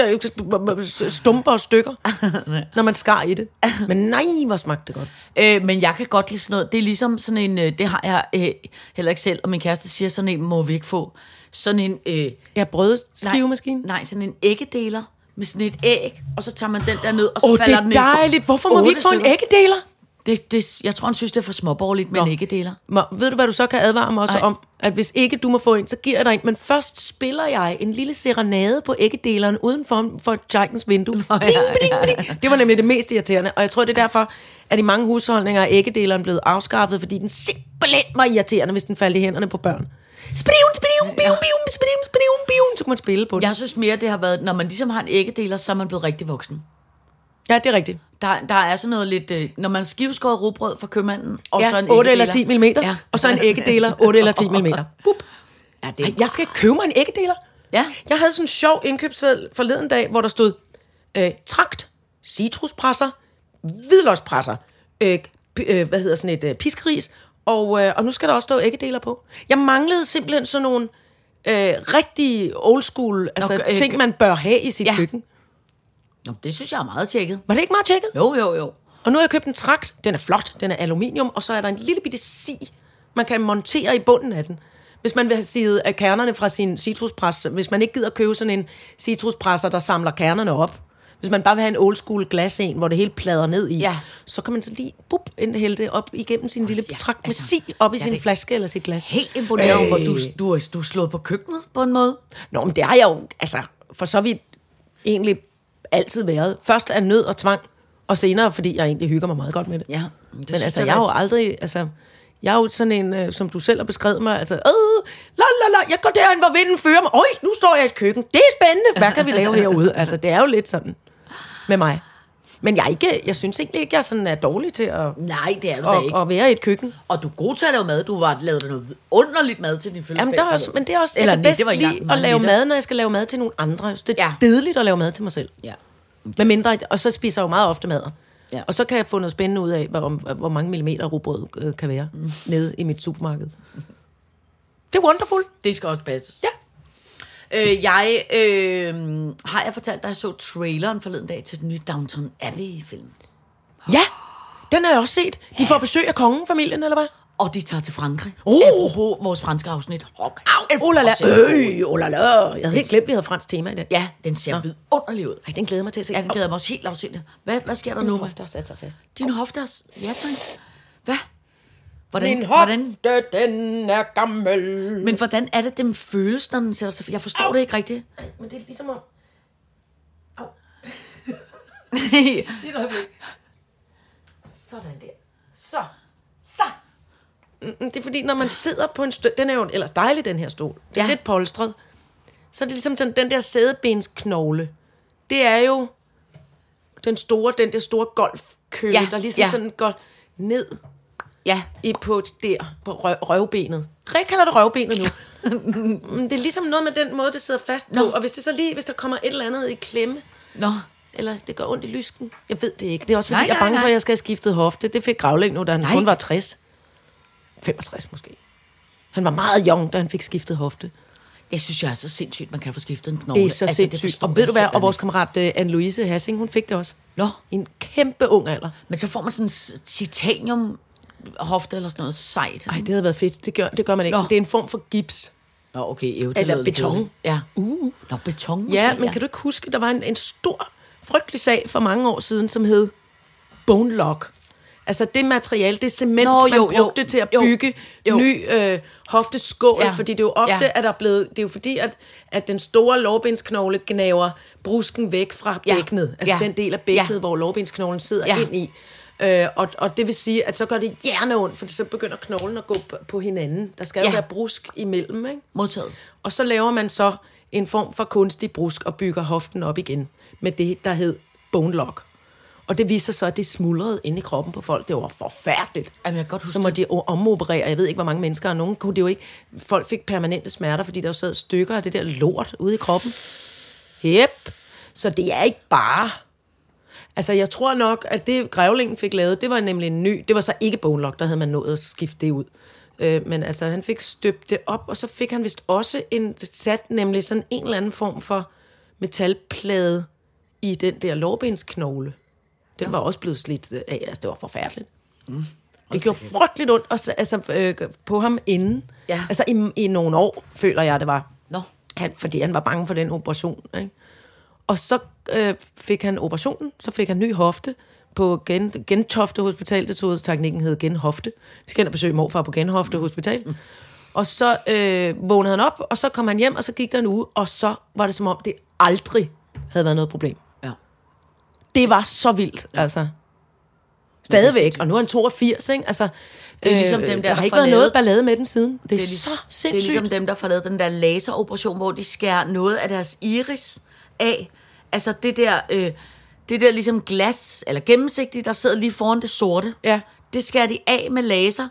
Speaker 4: øh, stumper og stykker, når man skar i det. Men nej, hvor smagte det godt.
Speaker 3: Øh, men jeg kan godt lide sådan noget. Det er ligesom sådan en, øh, det har jeg øh, heller ikke selv, og min kæreste siger, sådan en må vi ikke få. Sådan en... Øh,
Speaker 4: Ja, brødskivemaskinen.
Speaker 3: Nej, nej, sådan en æggedeler med sådan et æg, og så tager man den der ned, og så
Speaker 4: Åh, oh, det
Speaker 3: falder
Speaker 4: er
Speaker 3: den
Speaker 4: dejligt. Hvorfor må vi ikke få en æggedeler?
Speaker 3: Det, det, jeg tror, han synes, det er for småborgerligt med en
Speaker 4: Nå.
Speaker 3: æggedeler.
Speaker 4: Må, ved du, hvad du så kan advare mig også
Speaker 3: Ej.
Speaker 4: Ej. om? At hvis ikke du må få en, så giver jeg dig en. Men først spiller jeg en lille serenade på æggedeleren uden for, for Tjekkens vindue. Nå, ja, bling, bling, bling. Det var nemlig det mest irriterende. Og jeg tror, det er derfor, at i mange husholdninger er æggedeleren blevet afskaffet, fordi den simpelthen var irriterende, hvis den faldt i hænderne på børn. Sprivn, sprivn, bium, bium, sprivn, sprivn, bium. Så kunne man spille på det. Ja,
Speaker 3: Jeg synes mere, det har været, når man ligesom har en æggedeler, så er man blevet rigtig voksen.
Speaker 4: ja det er rigtigt.
Speaker 3: Der, der er sådan noget lidt, øh, når man skiveskåret rugbrød fra købmanden, og så en
Speaker 4: Ja, 8 eller 10
Speaker 3: æggedeler.
Speaker 4: mm,
Speaker 3: Ja.
Speaker 4: og så en æggedeler, 8 eller 10 mm. Bup.
Speaker 3: Ja, det
Speaker 4: Ej, jeg skal købe mig en æggedeler.
Speaker 3: Ja.
Speaker 4: Jeg havde sådan en sjov indkøbsseddel forleden dag, hvor der stod øh, trakt, citruspresser, hvidløgspresser, øh, p- øh, hvad hedder sådan et øh, piskeris, og, øh, og nu skal der også stå æggedeler på. Jeg manglede simpelthen sådan nogle øh, rigtig old school altså,
Speaker 3: Nå, øh,
Speaker 4: ting, man bør have i sit
Speaker 3: Ja.
Speaker 4: ja. køkken.
Speaker 3: Nå, det synes jeg er meget tjekket.
Speaker 4: Var det ikke meget tjekket?
Speaker 3: Jo, jo, jo.
Speaker 4: Og nu har jeg købt en trakt. Den er flot. Den er aluminium. Og så er der en lille bitte si, man kan montere i bunden af den. Hvis man vil have sivet af kernerne fra sin citruspresse. Hvis man ikke gider købe sådan en citruspresser, der samler kernerne op. Hvis man bare vil have en old school glas en, hvor det hele plader ned i,
Speaker 3: Ja.
Speaker 4: så kan man så lige bup, ind- hælde det op igennem sin lille
Speaker 3: ja,
Speaker 4: trakt med
Speaker 3: altså,
Speaker 4: si op i
Speaker 3: ja,
Speaker 4: sin
Speaker 3: det-
Speaker 4: flaske eller sit glas.
Speaker 3: Helt imponerende, hvor du, du, er- du er slået på køkkenet på en måde.
Speaker 4: Nå, men det har jeg jo, altså, for så vidt egentlig altid været. Først af nød og tvang, og senere, fordi jeg egentlig hygger mig meget godt med det.
Speaker 3: Ja, men det
Speaker 4: men, men
Speaker 3: synes
Speaker 4: altså,
Speaker 3: jeg
Speaker 4: jeg er jo
Speaker 3: var-
Speaker 4: aldrig, altså, jeg er jo sådan en, øh, som du selv har beskrevet mig, altså, øh, la, la, la, jeg går derhen, hvor vinden fører mig. Øj, nu står jeg i et køkken. Det er spændende. Hvad kan vi lave herude? Altså, det er jo lidt sådan med mig. Men jeg, er ikke, jeg synes egentlig ikke, jeg sådan er dårlig til at,
Speaker 3: Nej, det er du da ikke. Altså,
Speaker 4: at, at være i et køkken.
Speaker 3: Og du er god til at lave mad. Du var lavet noget underligt mad til din fødselsdag.
Speaker 4: Jamen, der er også, men det er også, Eller jeg kan
Speaker 3: nej,
Speaker 4: bedst det
Speaker 3: var ikke
Speaker 4: lide
Speaker 3: engang
Speaker 4: at lave
Speaker 3: meget
Speaker 4: mad, når jeg skal lave mad til nogle andre. Jeg synes, det er
Speaker 3: Ja.
Speaker 4: ja. dedeligt at lave mad til mig selv.
Speaker 3: Ja.
Speaker 4: Med mindre, og så spiser jeg jo meget ofte mad.
Speaker 3: Ja.
Speaker 4: Ja. Og så kan jeg få noget spændende ud af, hvor, om, hvor mange millimeter rugbrød øh, kan være mm. nede i mit supermarked. Det er wonderful.
Speaker 3: Det skal også passes.
Speaker 4: Ja.
Speaker 3: Øh, jeg, øh, har jeg fortalt dig, at jeg så traileren forleden dag til den nye Downton Abbey-film.
Speaker 4: Ja, den har jeg også set. De får besøg af kongefamilien, eller hvad?
Speaker 3: Og de tager til Frankrig.
Speaker 4: Uh.
Speaker 3: Apropos vores franske afsnit. Rock out.
Speaker 4: Oh la la.
Speaker 3: Og ser-
Speaker 4: Øh, oh la la. Jeg havde helt glemt, vi havde fransk tema i dag.
Speaker 3: Ja, den ser vidunderlig ud.
Speaker 4: Ej, den glæder jeg mig til at se.
Speaker 3: Ja, den glæder jeg mig også helt afsindigt. Hvad, hvad sker der nu?
Speaker 4: Åh,
Speaker 3: med-
Speaker 4: der sat sig fast.
Speaker 3: Din hofte er... s- Ja, tak. Hvad? Hvordan,
Speaker 4: Min
Speaker 3: hvordan,
Speaker 4: hofte, den er gammel.
Speaker 3: men hvordan er det, dem føles, når den sætter sig... Jeg forstår det ikke rigtigt.
Speaker 4: Men det er ligesom om... Au,
Speaker 3: Nej,
Speaker 4: lige et øjeblik. Sådan der. Så. Så. Mm, mm, Det er fordi, når man sidder på en stol... Den er jo ellers dejlig, den her stol. Det er
Speaker 3: Ja.
Speaker 4: ja. lidt polstret. Så er det ligesom sådan, den der sædebensknogle. Det er jo den store, den der store golfkølle,
Speaker 3: Ja,
Speaker 4: ja. der ligesom
Speaker 3: ja.
Speaker 4: ja. sådan går ned
Speaker 3: ja,
Speaker 4: i på der, på røv, røvbenet. Rik kalder det røvbenet nu. Men det er ligesom noget med den måde, det sidder fast på.
Speaker 3: Nå.
Speaker 4: Nå. Og hvis det så lige, hvis der kommer et eller andet i klemme,
Speaker 3: nå.
Speaker 4: eller det gør ondt i lysken. Jeg ved det ikke. Det er også
Speaker 3: Nej,
Speaker 4: fordi, nej, jeg er
Speaker 3: nej,
Speaker 4: bange for,
Speaker 3: nej.
Speaker 4: at jeg skal have skiftet hofte. Det fik Gravlæg nu, da han
Speaker 3: Nej.
Speaker 4: nej. kun var 60. 65 måske. Han var meget young, da han fik skiftet hofte.
Speaker 3: Jeg synes, jeg er så sindssygt, man kan få skiftet en knogle.
Speaker 4: Det er så altså, sindssygt.
Speaker 3: forstår
Speaker 4: Og ved
Speaker 3: jeg
Speaker 4: du hvad, og
Speaker 3: simpelthen
Speaker 4: vores kammerat øh, Anne-Louise Hassing, hun fik det også.
Speaker 3: Nå.
Speaker 4: I en kæmpe ung alder.
Speaker 3: ikke. Men så får man sådan en s- titanium hofte eller sådan noget sejt.
Speaker 4: Nej, det havde været fedt. Det gør, det gør man ikke.
Speaker 3: Nå.
Speaker 4: Nå. Det er en form for gips.
Speaker 3: Nå, okay, jo, det
Speaker 4: Eller
Speaker 3: lyder lidt
Speaker 4: beton.
Speaker 3: kedeligt. Ja. Uh. Nå, beton måske,
Speaker 4: Ja, men kan du ikke huske, der var en, en stor, frygtelig sag for mange år siden, som hed bone lock. Altså det materiale, det cement,
Speaker 3: Nå,
Speaker 4: Nå, man
Speaker 3: jo,
Speaker 4: jo,
Speaker 3: jo,
Speaker 4: brugte jo, til at
Speaker 3: jo,
Speaker 4: bygge
Speaker 3: jo.
Speaker 4: jo. ny øh, hofteskål,
Speaker 3: Ja,
Speaker 4: ja, fordi det er jo ofte,
Speaker 3: ja.
Speaker 4: ja. at der er blevet, det er jo fordi, at, at den store lårbensknogle gnaver brusken væk fra
Speaker 3: Ja,
Speaker 4: bækkenet. Altså
Speaker 3: ja,
Speaker 4: den del af bækkenet,
Speaker 3: ja.
Speaker 4: hvor lårbensknoglen sidder
Speaker 3: Ja.
Speaker 4: ja. ind i. Øh, og, og det vil sige, at så gør det hjerneondt, for så begynder knoglen at gå på, på hinanden. Der skal ja.
Speaker 3: Ja.
Speaker 4: jo være brusk imellem, ikke?
Speaker 3: Modtaget.
Speaker 4: Og så laver man så en form for kunstig brusk og bygger hoften op igen med det, der hed bone lock. Og det viser så, at det smuldrede inde i kroppen på folk. Det var forfærdeligt.
Speaker 3: Jamen, jeg kan godt huske
Speaker 4: så må
Speaker 3: det.
Speaker 4: de o- omoperere. Jeg ved ikke, hvor mange mennesker, og nogen kunne det jo ikke. Folk fik permanente smerter, fordi der jo sad stykker af det der lort ude i kroppen. Yep. Så det er ikke bare... Altså, jeg tror nok, at det grævlingen fik lavet, det var nemlig en ny, det var så ikke Bone Lock, der havde man nået at skifte det ud. Øh, men altså, han fik støbt det op, og så fik han vist også en sat, nemlig sådan en eller anden form for metalplade i den der lårbensknogle. Den var også blevet slidt af, altså det var forfærdeligt. Det gjorde frygteligt ondt og så, altså, øh, på ham inden.
Speaker 3: Ja.
Speaker 4: Altså i, i nogle år, føler jeg, det var.
Speaker 3: Nå.
Speaker 4: Han, fordi han var bange for den operation. Ikke? Og så øh, fik han operationen, så fik han ny hofte på Gen, Gentofte Hospital. Det tog teknikken hed Genhofte. Vi skal ind og besøge morfar på Genhofte Hospital. Og så øh, vågnede han op, og så kom han hjem, og så gik der en uge, og så var det som om, det aldrig havde været noget problem.
Speaker 3: Ja.
Speaker 4: Det var så vildt, altså. Stadigvæk, og nu er han 82, ikke? Altså, det
Speaker 3: er ligesom dem der,
Speaker 4: der
Speaker 3: der
Speaker 4: har ikke
Speaker 3: får
Speaker 4: været noget
Speaker 3: lavet-
Speaker 4: ballade med den siden. Det er, det er
Speaker 3: lig-
Speaker 4: så
Speaker 3: Det er
Speaker 4: sindssygt.
Speaker 3: ligesom dem, der får lavet den der laseroperation, hvor de skærer noget af deres iris af. Altså det der, øh, det der ligesom glas, eller gennemsigtigt, der sidder lige foran det sorte.
Speaker 4: Ja.
Speaker 3: Det skærer de af med laser,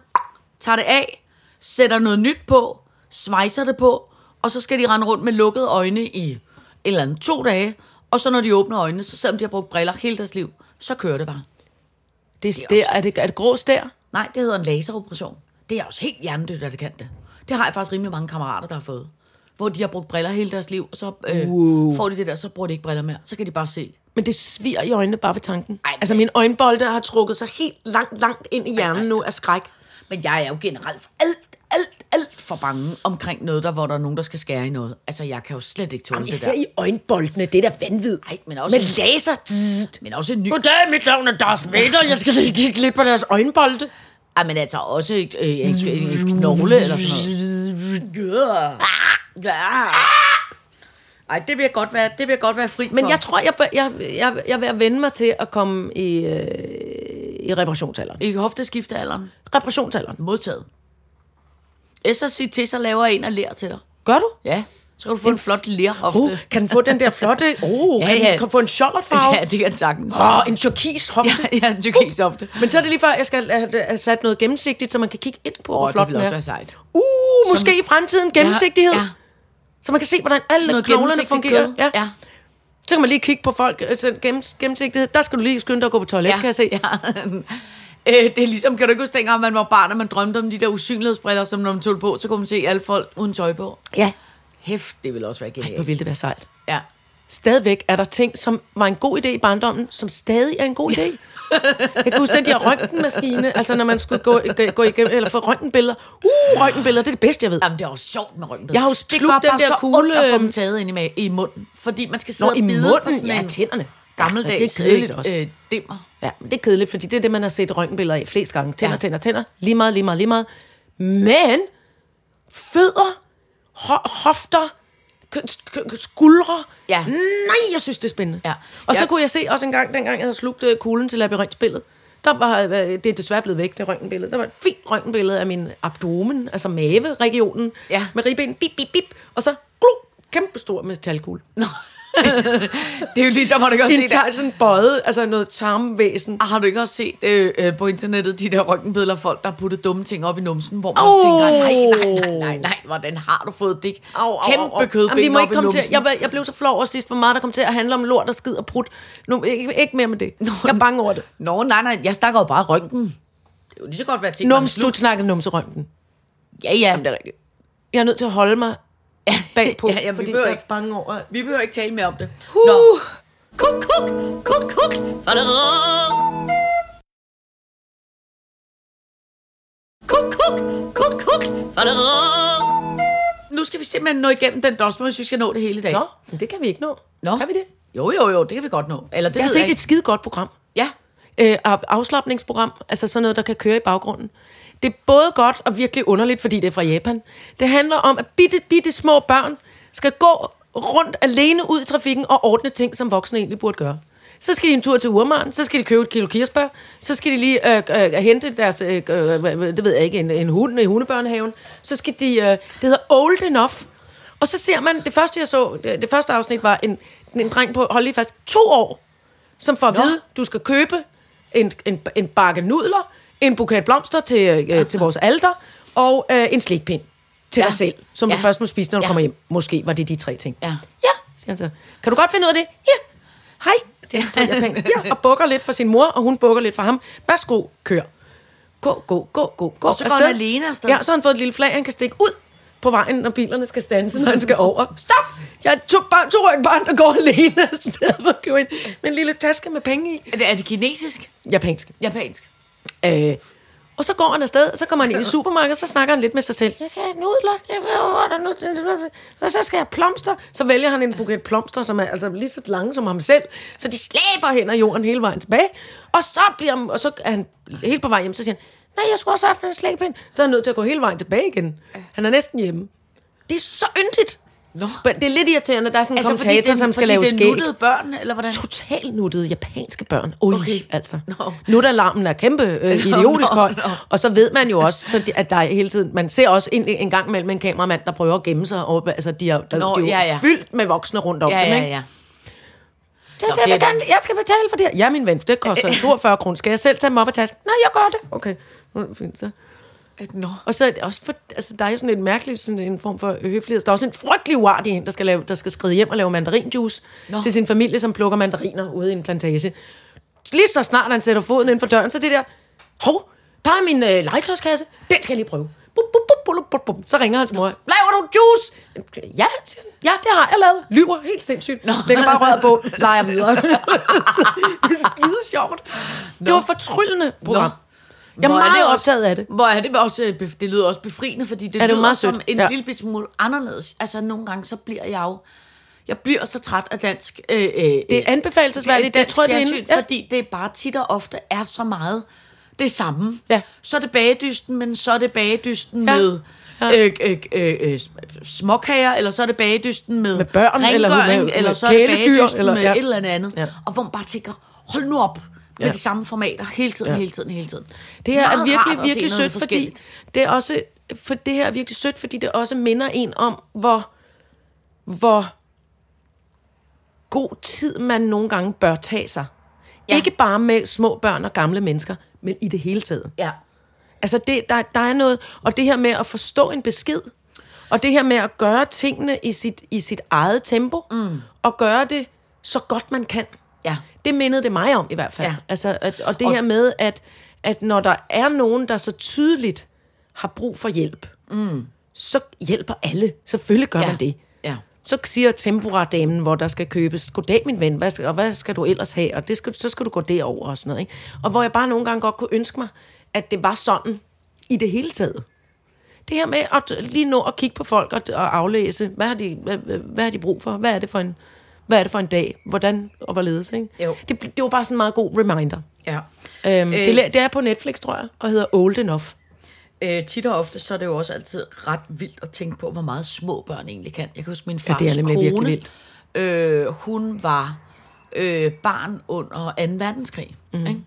Speaker 3: tager det af, sætter noget nyt på, svejser det på, og så skal de rende rundt med lukkede øjne i en eller anden to dage. Og så når de åbner øjnene, så selvom de har brugt briller hele deres liv, så kører det bare.
Speaker 4: Det, det, er, er, det, er det grå stær?
Speaker 3: Nej, det hedder en laseroperation. Det er også helt hjernedødt, at det kan det. Det har jeg faktisk rimelig mange kammerater, der har fået. Hvor de har brugt briller hele deres liv, og så øh, får de det der, så bruger de ikke briller mere. Så kan de bare se.
Speaker 4: Men det sviger i øjnene bare ved tanken. Ej, altså, min øjenbolde har trukket sig helt langt, langt ind i hjernen nu af skræk.
Speaker 3: Men jeg er jo generelt for alt, alt, alt for bange omkring noget, der, hvor der er nogen, der skal skære i noget. Altså, jeg kan jo slet ikke tåle Jamen, det der.
Speaker 4: i øjenboldene, det er da vanvid.
Speaker 3: Nej, men også... Men
Speaker 4: laser.
Speaker 3: Men også en ny...
Speaker 4: Goddag, mit navn er Darth Vader. Jeg skal lige kigge lidt på deres øjenbolde.
Speaker 3: Ej, men altså også et, øh, en, en, en knogle eller sådan noget. Ah! Ah! Ej, det vil jeg godt være, det vil jeg godt være fri
Speaker 4: Men
Speaker 3: for.
Speaker 4: jeg tror, jeg, bør- jeg, jeg, jeg er ved at vende mig til at komme i, øh, i reparationsalderen.
Speaker 3: I hofteskiftealderen.
Speaker 4: Reparationsalderen.
Speaker 3: Modtaget. SRC til, så laver jeg en af lær til dig.
Speaker 4: Gør du?
Speaker 3: Ja. Så kan du få en, en flot lærhofte.
Speaker 4: Uh, kan den få den der flotte... Uh,
Speaker 3: Ja,
Speaker 4: ja, kan,
Speaker 3: ja.
Speaker 4: Den, kan den få en sjollertfarve?
Speaker 3: ja, det kan jeg sagtens.
Speaker 4: Åh, oh, en turkis hofte.
Speaker 3: Ja, ja, en turkis hofte.
Speaker 4: Men så er det lige før, jeg skal have have sat noget gennemsigtigt, så man kan kigge ind på, hvor
Speaker 3: Åh, det
Speaker 4: flot den
Speaker 3: ville også være
Speaker 4: er.
Speaker 3: sejt.
Speaker 4: Uh, måske i fremtiden gennemsigtighed.
Speaker 3: Ja, ja.
Speaker 4: Så man kan se, hvordan alle
Speaker 3: Noget
Speaker 4: knoglerne
Speaker 3: gennemsigtigt
Speaker 4: fungerer.
Speaker 3: kød. ja.
Speaker 4: Så kan man lige kigge på folk. Altså, gennem, gennemsigtighed. Der skal du lige skynde dig at gå på toilet, kan jeg se.
Speaker 3: Ja. Øh, det er ligesom, kan du ikke huske dengang, man var barn, og man drømte om de der usynlighedsbriller, som når man tog det på, så kunne man se alle folk uden tøj på.
Speaker 4: ja.
Speaker 3: Hæft, det ville også være
Speaker 4: Hvor
Speaker 3: genialt.
Speaker 4: ville det være sejt.
Speaker 3: Ja.
Speaker 4: Stadigvæk er der ting, som var en god idé i barndommen, som stadig er en god idé. Jeg kan huske den der røntgenmaskine, altså når man skulle gå, gå, gå igennem, eller få røntgenbilleder. Uh, røntgenbilleder, det er det bedste, jeg ved.
Speaker 3: Jamen, det er også sjovt med røntgen.
Speaker 4: Jeg har jo slugt
Speaker 3: det gør
Speaker 4: den
Speaker 3: bare
Speaker 4: der
Speaker 3: så
Speaker 4: kugle-
Speaker 3: ondt at få dem taget ind i, ma- i munden, fordi man skal sidde og bide på sådan
Speaker 4: ja,
Speaker 3: en
Speaker 4: tænderne.
Speaker 3: gammeldags
Speaker 4: ja, det er kedeligt også.
Speaker 3: Øh, dimmer.
Speaker 4: Ja, men det er kedeligt, fordi det er det, man har set røntgenbilleder af flest gange. Tænder,
Speaker 3: Ja.
Speaker 4: ja. tænder, tænder. Lige meget, lige meget, lige meget. Men fødder, ho- hofter, k- k- skuldre.
Speaker 3: Ja.
Speaker 4: Nej, jeg synes, det er spændende.
Speaker 3: Ja.
Speaker 4: Og så
Speaker 3: Jeg-
Speaker 4: kunne jeg se også en gang, dengang jeg havde slugt øh, kuglen til labyrintspillet. Der var, øh, det er desværre blevet væk, det røntgenbillede. Der var et fint røntgenbillede af min abdomen, altså maveregionen,
Speaker 3: Ja.
Speaker 4: med ribben, bip, bip, bip, og så gluk, kæmpestor metalkugle. Nå,
Speaker 3: Det er jo ligesom, har du ikke også
Speaker 4: en
Speaker 3: set,
Speaker 4: tar- sådan bøjet, altså noget tarmvæsen.
Speaker 3: Ah, har du ikke også set øh, øh, på internettet de der røntgenbilleder af folk, der putter dumme ting op i numsen, hvor man oh. også tænker, nej, nej, nej, nej, nej, hvordan har du fået det? Kæmpe kødben
Speaker 4: Jamen, vi må ikke komme
Speaker 3: op i
Speaker 4: til,
Speaker 3: numsen.
Speaker 4: jeg, var- jeg blev så flov over sidst, hvor meget der kom til at handle om lort og skid og prut. Nu, ikke, ikke mere med det. Jeg er bange over det.
Speaker 3: Nå, nej, nej, jeg snakker jo bare røntgen. Det er jo lige så godt være ting, man
Speaker 4: Nums,
Speaker 3: slut.
Speaker 4: du snakkede numserøntgen.
Speaker 3: Ja, ja.
Speaker 4: Jamen, det er rigtigt. Jeg er nødt til at holde mig bagpå,
Speaker 3: Ja, jamen, vi
Speaker 4: fordi
Speaker 3: behøver
Speaker 4: jeg er
Speaker 3: ikke.
Speaker 4: bange over...
Speaker 3: Vi behøver ikke tale mere om det. Uh. Nå,
Speaker 2: Kuk, kuk, kuk, kuk. Kuk, kuk, kuk, kuk.
Speaker 3: nu skal vi simpelthen nå igennem den dosmer, hvis vi skal nå det hele i dag.
Speaker 4: Nå, men det kan vi ikke nå.
Speaker 3: Nå.
Speaker 4: Kan vi det?
Speaker 3: Jo, jo, jo, det kan vi godt nå. Eller det
Speaker 4: Jeg har
Speaker 3: ved
Speaker 4: set
Speaker 3: ikke.
Speaker 4: et skide godt program.
Speaker 3: Ja,
Speaker 4: øh, af- afslappningsprogram, altså sådan noget, der kan køre i baggrunden. Det er både godt og virkelig underligt, fordi det er fra Japan. Det handler om, at bitte, bitte små børn skal gå rundt alene ud i trafikken og ordne ting, som voksne egentlig burde gøre. Så skal de en tur til urmaren, så skal de købe et kilo kirsebær, så skal de lige øh, øh, hente deres, øh, øh, hvad- hvad- det ved jeg ikke, en, en hund i hundebørnehaven. Så skal de, øh, det hedder Old Enough, og så ser man, det første jeg så, det, det første afsnit var en, en dreng på, hold lige fast, to år, som får at vide, du skal købe en, en, en bakke nudler, en buket blomster til, øh, til vores alter, og øh, en slikpind til
Speaker 3: Ja.
Speaker 4: ja. dig selv, som
Speaker 3: Ja.
Speaker 4: du først må spise, når du
Speaker 3: Ja.
Speaker 4: ja. kommer hjem. Måske var det de tre ting.
Speaker 3: Ja.
Speaker 4: ja, siger han så. Kan du godt finde ud af det? Ja. Hej, rigtigt. På japansk. Ja, og bukker lidt for sin mor, og hun bukker lidt for ham. Værsgo, kør. Gå, gå, gå, gå, gå. Og
Speaker 3: så går han alene afsted.
Speaker 4: Ja, så har han fået et lille flag, han kan stikke ud på vejen, når bilerne skal stanse, når han skal over. Stop! Jeg tog, barn, tog et barn, der går alene afsted for at købe ind med en lille taske med penge i.
Speaker 3: Er det, er det kinesisk?
Speaker 4: Japansk.
Speaker 3: Japansk?
Speaker 4: Øh. Og så går han afsted, og så kommer han ind i supermarkedet, så snakker han lidt med sig selv. Jeg skal have nudler, jeg vil- hvor er der nudler? og så skal jeg have plomster. Så vælger han en buket plomster, som er altså lige så lange som ham selv, så de slæber hen ad jorden hele vejen tilbage. Og så, bliver han, og så er han helt på vej hjem, så siger han, nej, jeg skulle også have haft en slæbepind. Så er han nødt til at gå hele vejen tilbage igen. Han er næsten hjemme. Det er så yndigt. No. Men det er lidt irriterende, at der er sådan en altså, kommentator,
Speaker 3: den-
Speaker 4: som skal
Speaker 3: fordi
Speaker 4: lave
Speaker 3: det er
Speaker 4: skæg
Speaker 3: nuttede børn, eller hvordan?
Speaker 4: totalt nuttede japanske børn. Ui, okay. altså.
Speaker 3: Nå.
Speaker 4: Nutalarmen er kæmpe øh, idiotisk
Speaker 3: nå,
Speaker 4: høj.
Speaker 3: nå.
Speaker 4: Og så ved man jo også, fordi, at der er hele tiden... Man ser også en, en gang mellem en kameramand, der prøver at gemme sig. Og, altså, de er, der,
Speaker 3: Nå,
Speaker 4: de er jo
Speaker 3: ja, ja.
Speaker 4: fyldt med voksne rundt om
Speaker 3: Ja,
Speaker 4: dem,
Speaker 3: ja,
Speaker 4: ikke?
Speaker 3: ja.
Speaker 4: Det,
Speaker 3: Nå,
Speaker 4: det, jeg,
Speaker 3: det
Speaker 4: vil
Speaker 3: er-
Speaker 4: gerne, jeg skal betale for det her. Ja, min ven, det koster 42 kroner. Skal jeg selv tage dem op af tasken? Nej, jeg gør det. Okay. Nå, fint så.
Speaker 3: Nå.
Speaker 4: Og så er det også for, altså, der er jo sådan en mærkelig sådan en form for høflighed. Der er også en frygtelig uart i en, der skal, lave, der skal skride hjem og lave mandarinjuice Nå. til sin familie, som plukker mandariner ude i en plantage. Lige så snart han sætter foden inden for døren, så det der, hov, der er min øh, legetøjskasse, den skal jeg lige prøve. Bup, bup, bup, bup, bup, bup. Så ringer hans mor, laver du juice? Ja, siger han. ja, det har jeg lavet. Lyver helt sindssygt. Nå. Det kan bare røret på, leger videre. det er skide sjovt. Det var et fortryllende program. Jeg er
Speaker 3: Hvor det
Speaker 4: meget
Speaker 3: også-
Speaker 4: optaget af det.
Speaker 3: Hvor er det også, øh, bef- det lyder også befriende, fordi det,
Speaker 4: Er det
Speaker 3: lyder
Speaker 4: meget
Speaker 3: som
Speaker 4: sødt?
Speaker 3: en
Speaker 4: Ja.
Speaker 3: ja. lille bit smule anderledes. Altså, nogle gange, så bliver jeg jo... Jeg bliver så træt af dansk... Øh, øh,
Speaker 4: Det er anbefalesværdigt. Det
Speaker 3: dansk
Speaker 4: tror jeg, det er
Speaker 3: fjernsyn,
Speaker 4: hende. Ja.
Speaker 3: Fordi det bare tit og ofte er så meget det samme.
Speaker 4: Ja.
Speaker 3: Så er det bagedysten, men så er det bagedysten
Speaker 4: Ja.
Speaker 3: ja. med... Ja. Øh, øh, øh, øh, småkager, eller så er det bagedysten med,
Speaker 4: Med børn, eller
Speaker 3: rengøring,
Speaker 4: med- med
Speaker 3: eller så er det
Speaker 4: kæledyr,
Speaker 3: bagedysten
Speaker 4: eller-
Speaker 3: eller, med
Speaker 4: ja.
Speaker 3: ja. et eller andet andet.
Speaker 4: Ja.
Speaker 3: Ja. Og hvor man bare tænker, hold nu op med
Speaker 4: Ja.
Speaker 3: ja. de samme formater hele tiden,
Speaker 4: Ja.
Speaker 3: ja. hele tiden, hele tiden.
Speaker 4: Det her
Speaker 3: Meget
Speaker 4: er
Speaker 3: rart at
Speaker 4: virkelig,
Speaker 3: se
Speaker 4: virkelig
Speaker 3: noget
Speaker 4: sødt, fordi
Speaker 3: forskelligt.
Speaker 4: det er også, for det her er virkelig sødt, fordi det også minder en om, hvor, hvor god tid man nogle gange bør tage sig. Ja.
Speaker 3: Ja.
Speaker 4: Ikke bare med små børn og gamle mennesker, men i det hele taget.
Speaker 3: Ja.
Speaker 4: Altså, det, der, der er noget, og det her med at forstå en besked, og det her med at gøre tingene i sit, i sit eget tempo, mm. og gøre det så godt man kan.
Speaker 3: Ja.
Speaker 4: Det mindede det mig om i hvert fald.
Speaker 3: Ja.
Speaker 4: Altså, at, og det og, her med, at, at når der er nogen, der så tydeligt har brug for hjælp, mm. så hjælper alle. Selvfølgelig gør ja.
Speaker 3: Ja.
Speaker 4: man det.
Speaker 3: Ja.
Speaker 4: Så siger temporadamen, hvor der skal købes, goddag min ven, hvad skal, og hvad skal du ellers have? Og det skal, så skal du gå derover og sådan noget. Ikke? Og hvor jeg bare nogle gange godt kunne ønske mig, at det var sådan i det hele taget. Det her med at lige nå at kigge på folk og, og aflæse, hvad har, de, hvad, hvad- hvad har de brug for? Hvad er det for en, hvad er det for en dag? Hvordan og hvorledes? Ikke?
Speaker 3: Jo.
Speaker 4: Det, bl- det var bare sådan en meget god reminder.
Speaker 3: Ja.
Speaker 4: Øhm, øh.
Speaker 3: Øh.
Speaker 4: det, la- det er på Netflix, tror jeg, og hedder Old Enough.
Speaker 3: Øh, tit og ofte, så er det jo også altid ret vildt at tænke på, hvor meget små børn egentlig kan. Jeg kan huske min
Speaker 4: Ja,
Speaker 3: fars
Speaker 4: det er nemlig virkelig
Speaker 3: kone,
Speaker 4: vildt.
Speaker 3: Øh, hun var øh, barn under 2. verdenskrig.
Speaker 4: Mhm.
Speaker 3: Mm. Ikke?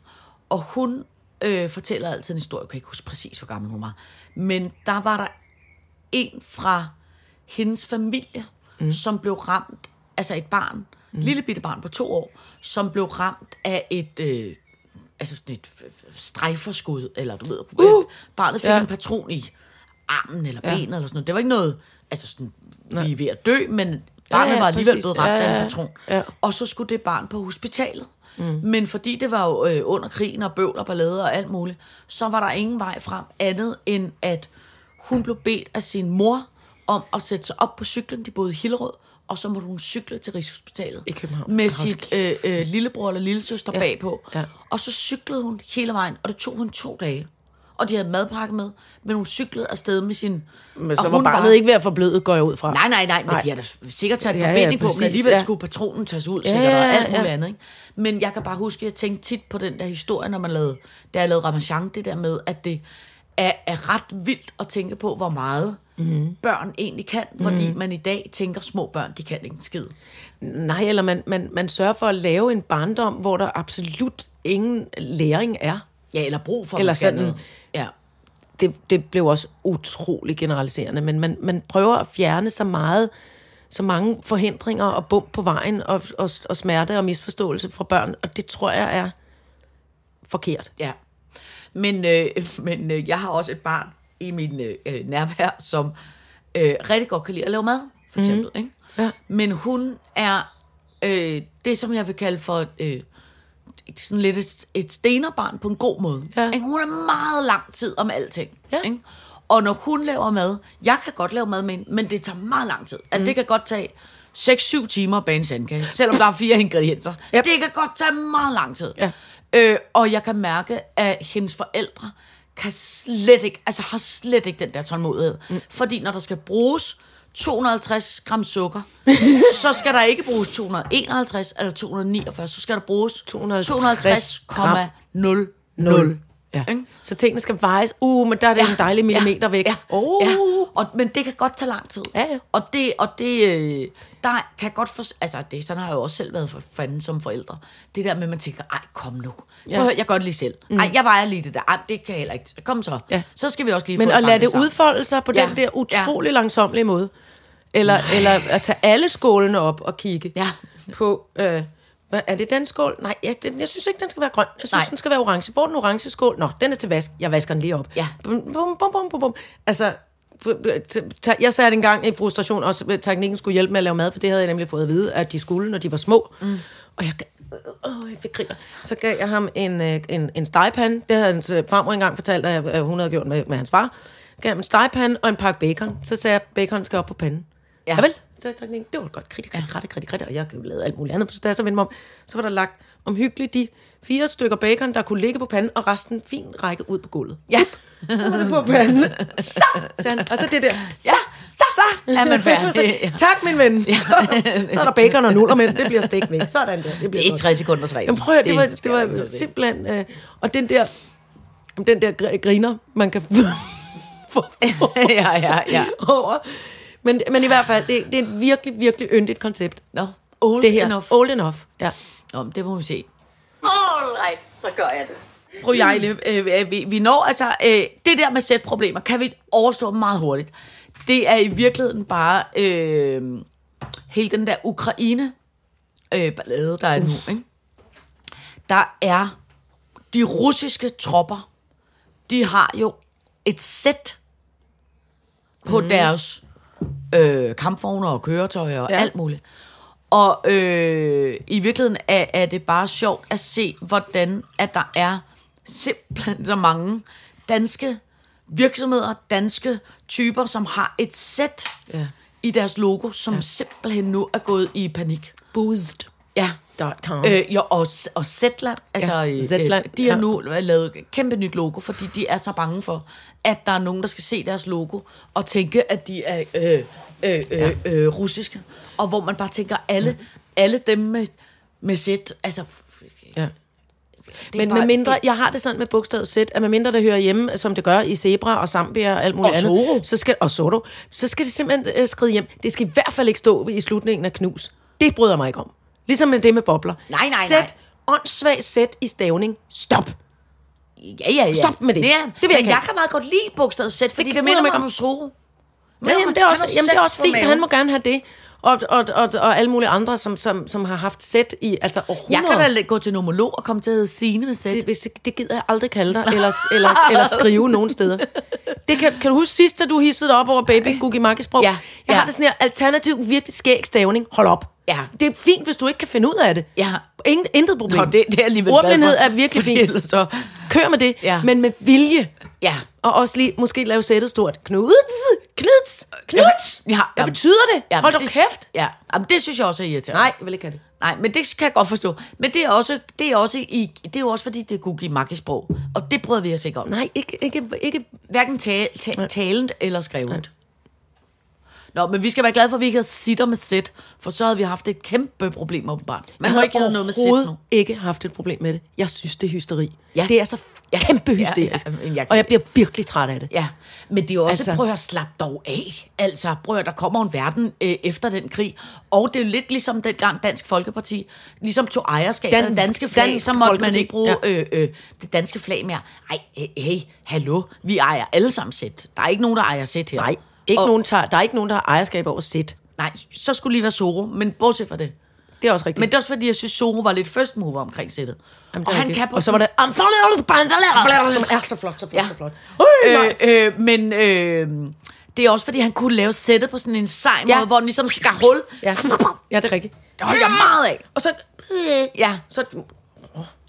Speaker 3: Og hun øh, fortæller altid en historie, jeg kan ikke huske præcis, hvor gammel hun var. Men der var der en fra hendes familie, mm. som blev ramt, altså et barn, mm. lille bitte barn på to år, som blev ramt af et... Øh, altså sådan et øh, strejferskud, eller du ved, uh, barnet fik
Speaker 4: Ja.
Speaker 3: ja. en patron i armen eller benet eller sådan noget. Det var ikke noget, altså sådan, vi er ved at dø, men barnet
Speaker 4: Ja,
Speaker 3: ja,
Speaker 4: ja,
Speaker 3: var alligevel
Speaker 4: præcis.
Speaker 3: blevet ramt
Speaker 4: Ja,
Speaker 3: af
Speaker 4: ja,
Speaker 3: en
Speaker 4: ja.
Speaker 3: patron.
Speaker 4: Ja.
Speaker 3: Og så skulle det barn på hospitalet. Mm. Men fordi det var jo øh, under krigen og bøvl og ballade og alt muligt, så var der ingen vej frem andet end, at hun blev bedt af sin mor om at sætte sig op på cyklen, de boede i Hillerød, og så måtte hun cykle til Rigshospitalet
Speaker 4: I København.
Speaker 3: med
Speaker 4: Hold
Speaker 3: sit øh, øh, lillebror eller lillesøster ja. bagpå.
Speaker 4: ja.
Speaker 3: Og så cyklede hun hele vejen, og det tog hun to dage. Og de havde madpakke med, men hun cyklede afsted med sin...
Speaker 4: Men
Speaker 3: og
Speaker 4: så var
Speaker 3: hun
Speaker 4: barnet ikke ved at forbløde, går jeg ud fra.
Speaker 3: Nej, nej, nej, men
Speaker 4: Nej.
Speaker 3: nej. de har da sikkert taget
Speaker 4: Ja, ja,
Speaker 3: ja, forbinding ja, på,
Speaker 4: præcis,
Speaker 3: men alligevel
Speaker 4: ja.
Speaker 3: ja. skulle patronen tages ud,
Speaker 4: Ja,
Speaker 3: sikkert, ja,
Speaker 4: ja,
Speaker 3: og alt muligt
Speaker 4: ja.
Speaker 3: andet. Ikke? Men jeg kan bare huske, at jeg tænkte tit på den der historie, når man lavede, da jeg lavede Ramachan, det der med, at det er, er ret vildt at tænke på, hvor meget
Speaker 4: Mhm.
Speaker 3: mm. børn egentlig kan, fordi mm. man i dag tænker, små børn, de kan ikke en skid.
Speaker 4: Nej, eller man, man, man sørger for at lave en barndom, hvor der absolut ingen læring er.
Speaker 3: Ja, eller brug for, at
Speaker 4: Eller
Speaker 3: man skal
Speaker 4: sådan-
Speaker 3: noget. Ja.
Speaker 4: Det, det blev også utrolig generaliserende, men man, man prøver at fjerne så meget, så mange forhindringer og bump på vejen og, og, og smerte og misforståelse fra børn, og det tror jeg er forkert.
Speaker 3: Ja. Men, øh, men øh, jeg har også et barn i min øh, øh, nærvær, som øh, rigtig godt kan lide at lave mad, for eksempel. Mm. Ikke?
Speaker 4: Ja.
Speaker 3: Men hun er øh, det, som jeg vil kalde for øh, et- sådan lidt et, et stenerbarn på en god måde.
Speaker 4: Ja.
Speaker 3: Ikke? Hun er meget lang tid om alting.
Speaker 4: Ja.
Speaker 3: Ikke? Og når hun laver mad, jeg kan godt lave mad, men, men det tager meget lang tid.
Speaker 4: Mm.
Speaker 3: At det kan godt tage 6-7 timer at bage en sandkage, selvom der er fire ingredienser.
Speaker 4: Yep.
Speaker 3: Det kan godt tage meget lang tid.
Speaker 4: Ja.
Speaker 3: Øh, og jeg kan mærke, at hendes forældre kan slet ikke, altså har slet ikke den der tålmodighed. Mm. Fordi når der skal bruges 250 gram sukker, så skal der ikke bruges 251 eller 249, så skal der bruges
Speaker 4: 250 gram.
Speaker 3: 250,00.
Speaker 4: Ja.
Speaker 3: Ikke?
Speaker 4: Så tingene skal vejes. Uh, men der er det ja. en dejlig millimeter ja. væk.
Speaker 3: Ja.
Speaker 4: Oh.
Speaker 3: ja. Og, men det kan godt tage lang tid.
Speaker 4: Ja, ja.
Speaker 3: Og det, og det øh, der kan godt for, altså det, sådan har jeg jo også selv været for fanden som forældre. Det der med, at man tænker, ej, kom nu. Ja. Prøv, at høre, jeg gør det lige selv. Mm. Ej, jeg vejer lige det der. Ej, det kan jeg heller ikke. Kom så.
Speaker 4: Ja.
Speaker 3: Så skal vi også lige
Speaker 4: Men
Speaker 3: få
Speaker 4: at
Speaker 3: et
Speaker 4: lade
Speaker 3: banke
Speaker 4: det
Speaker 3: sammen.
Speaker 4: udfolde sig på
Speaker 3: Ja.
Speaker 4: ja. den der
Speaker 3: Ja.
Speaker 4: utrolig ja. langsomlige måde. Eller, eller at tage alle skålene op og kigge
Speaker 3: Ja.
Speaker 4: på... Øh, hvad, er det den skål? Nej, jeg, den, jeg synes ikke, den skal være grøn. Jeg synes,
Speaker 3: Nej.
Speaker 4: Nej. den skal være orange. Hvor er den orange skål? Nå, den er til vask. Jeg vasker den lige op.
Speaker 3: Ja.
Speaker 4: Bum, bum, bum, bum, bum, bum. Altså, b- b- t- ta- jeg sagde det engang i frustration, også at teknikken skulle hjælpe med at lave mad, for det havde jeg nemlig fået at vide, at de skulle, når de var små. Mm. Og jeg, gav- øh, øh, jeg fik griner. Så gav jeg ham en, øh, en, en stegepande. Det havde hans øh, farmor engang fortalt, at øh, hun havde gjort med, med hans far. Gav ham en stegepande og en pakke bacon. Så sagde jeg, at bacon skal op på panden.
Speaker 3: Ja.
Speaker 4: Ja. Javel, det var teknikken. Det var godt. Kritik, kritik, kritik, kritik, kritik. Og jeg lavede alt muligt andet. Så da jeg så vendte mig om, så var der lagt omhyggeligt de fire stykker bacon, der kunne ligge på panden, og resten fint række ud på gulvet.
Speaker 3: Ja.
Speaker 4: Så var det på panden. Så, sagde han. Og så det der. Så,
Speaker 3: Ja, så, så er man færdig.
Speaker 4: Så, tak, min ven. Så, så er der bacon og nuller, men det bliver stegt væk. Sådan der. Det bliver
Speaker 3: Det er
Speaker 4: godt.
Speaker 3: 60 sekunders regel.
Speaker 4: Jamen, prøv at, høre, det, var, det var, det var simpelthen... Øh, og den der, jamen, den der gr- griner, man kan få
Speaker 3: ja, ja, ja.
Speaker 4: over. Men, men i hvert fald, det, det er et virkelig, virkelig yndigt koncept.
Speaker 3: Nå, old
Speaker 4: det her.
Speaker 3: enough.
Speaker 4: Old enough, ja.
Speaker 3: Nå, men det må vi se.
Speaker 2: Alright, så gør jeg det.
Speaker 3: Fru Jejle, øh, øh, vi, vi når altså... Øh, det der med sætproblemer kan vi overstå meget hurtigt. Det er i virkeligheden bare øh, hele den der Ukraine-ballade, der er nu. Ikke? Der er de russiske tropper, de har jo et sæt på mm. deres øh, kampvogne og køretøjer og ja.
Speaker 4: Ja.
Speaker 3: alt muligt. Og øh, i virkeligheden er, er det bare sjovt at se, hvordan at der er simpelthen så mange danske virksomheder, danske typer, som har et sæt ja.
Speaker 4: Ja.
Speaker 3: i deres logo, som ja. simpelthen nu er gået i panik.
Speaker 4: Boozed.
Speaker 3: Ja,
Speaker 4: Dot com.
Speaker 3: Øh, jo, og, og Zetland, altså,
Speaker 4: Ja,
Speaker 3: øh,
Speaker 4: Zetland,
Speaker 3: øh, de har
Speaker 4: ja.
Speaker 3: nu lavet et kæmpe nyt logo, fordi de er så bange for, at der er nogen, der skal se deres logo og tænke, at de er øh, øh, øh, øh, russiske. Og hvor man bare tænker, alle, alle dem med, med sæt, altså... f-
Speaker 4: Ja.
Speaker 3: det er
Speaker 4: Men
Speaker 3: bare-
Speaker 4: med mindre,
Speaker 3: det-
Speaker 4: jeg har det sådan med bogstavet Z, at med mindre det hører hjemme, som det gør i Zebra og Zambia og alt muligt
Speaker 3: Og
Speaker 4: andet,
Speaker 3: Zorro.
Speaker 4: så skal, og Zoro, så skal det simpelthen øh, skride hjem. Det skal i hvert fald ikke stå i slutningen af knus. Det bryder jeg mig ikke om. Ligesom med det med bobler.
Speaker 3: Nej, nej,
Speaker 4: Sæt,
Speaker 3: nej.
Speaker 4: åndssvagt sæt i stavning. Stop.
Speaker 3: Ja, ja, ja.
Speaker 4: Stop med det.
Speaker 3: Ja,
Speaker 4: Det vil
Speaker 3: det vil
Speaker 4: jeg
Speaker 3: men
Speaker 4: ikke
Speaker 3: jeg
Speaker 4: have.
Speaker 3: kan meget godt lide bogstavet sæt, fordi det, det
Speaker 4: kan
Speaker 3: minder
Speaker 4: jeg
Speaker 3: mig
Speaker 4: ikke
Speaker 3: om
Speaker 4: om.
Speaker 3: Zoro.
Speaker 4: Ja, jamen, det er også,
Speaker 3: Han har
Speaker 4: jamen, det er
Speaker 3: sæt
Speaker 4: også
Speaker 3: på
Speaker 4: fint.
Speaker 3: maven.
Speaker 4: Han må gerne have det. Og, og, og, og alle mulige andre, som, som, som har haft sæt i altså
Speaker 3: Jeg
Speaker 4: århundreder.
Speaker 3: kan da gå til nomolog og komme til at hedde Signe med sæt.
Speaker 4: det, hvis det, det gider jeg aldrig kalde dig, eller, eller, eller skrive nogen steder. Det kan, kan du huske sidst, da du hissede dig op over baby Gugi Markesprog?
Speaker 3: Ja, ja.
Speaker 4: Jeg har det sådan her, alternativ, virkelig skæg stavning. Hold op.
Speaker 3: Ja.
Speaker 4: Det er fint, hvis du ikke kan finde ud af det.
Speaker 3: Ja.
Speaker 4: Ingen, intet problem.
Speaker 3: Nå, det- det er jeg alligevel glad for,
Speaker 4: Ordblindhed er virkelig
Speaker 3: fordi
Speaker 4: fint.
Speaker 3: ellers så-
Speaker 4: Kør med det,
Speaker 3: Ja.
Speaker 4: men med vilje.
Speaker 3: Ja.
Speaker 4: Og også lige, måske lave sættet stort. Knuds, knuds, knuds.
Speaker 3: Ja, ja,
Speaker 4: Hvad
Speaker 3: jamen,
Speaker 4: betyder det?
Speaker 3: Ja, men
Speaker 4: Hold da
Speaker 3: det-
Speaker 4: kæft.
Speaker 3: Ja, jamen, det synes jeg også er irriterende.
Speaker 4: Nej, jeg vil ikke have det.
Speaker 3: Nej, men det kan jeg godt forstå. Men det er også, det er også, i, det er jo også fordi, det kunne give makkesprog. Og det bryder vi os ikke om.
Speaker 4: Nej, ikke, ikke, ikke
Speaker 3: Hverken tale, ta, talent eller skrevet. Nå, men vi skal være glade for, at vi ikke havde sitter med sæt, for så havde vi haft et kæmpe problem åbenbart. Man
Speaker 4: Jeg
Speaker 3: har
Speaker 4: havde
Speaker 3: ikke havde noget med sæt
Speaker 4: overhovedet
Speaker 3: nu.
Speaker 4: ikke haft et problem med det. Jeg synes, det er hysteri.
Speaker 3: Ja.
Speaker 4: Ja. Det er så f-
Speaker 3: Ja.
Speaker 4: kæmpe
Speaker 3: Ja, ja,
Speaker 4: hysterisk.
Speaker 3: men jeg kan-
Speaker 4: Og jeg bliver virkelig træt af det.
Speaker 3: Ja, men det er jo også, altså,
Speaker 4: Altså-
Speaker 3: prøv at høre, slap dog af. Altså, prøv at høre, der kommer en verden øh, efter den krig. Og det er jo lidt ligesom dengang Dansk Folkeparti, ligesom tog ejerskab Dan, af
Speaker 4: Dan-
Speaker 3: det danske flag,
Speaker 4: Dansk
Speaker 3: så måtte man
Speaker 4: Folkeparti,
Speaker 3: ikke bruge ja. øh, øh, det danske flag mere. Ej, øh, hey, hallo, vi ejer alle sammen sæt. Der er ikke nogen, der ejer sæt her.
Speaker 4: Nej, ikke
Speaker 3: og,
Speaker 4: nogen tager, der er ikke nogen, der har ejerskab over sæt.
Speaker 3: Nej, så skulle lige være Zoro, men bortset fra det.
Speaker 4: Det er også rigtigt.
Speaker 3: Men det er også fordi, jeg synes, Zoro var lidt first mover omkring sættet.
Speaker 4: Jamen, det er
Speaker 3: og han
Speaker 4: rigtigt.
Speaker 3: kan på
Speaker 4: og så var det...
Speaker 3: I'm falling out of the
Speaker 4: Som er
Speaker 3: bandalera.
Speaker 4: så flot, så flot, så flot.
Speaker 3: Øh, øh, men øh, Det er også, fordi han kunne lave sættet på sådan en sej
Speaker 4: Ja.
Speaker 3: måde, hvor den ligesom skar hul.
Speaker 4: Ja. ja, det er rigtigt.
Speaker 3: Det holdt jeg meget af.
Speaker 4: Og så...
Speaker 3: Ja, så...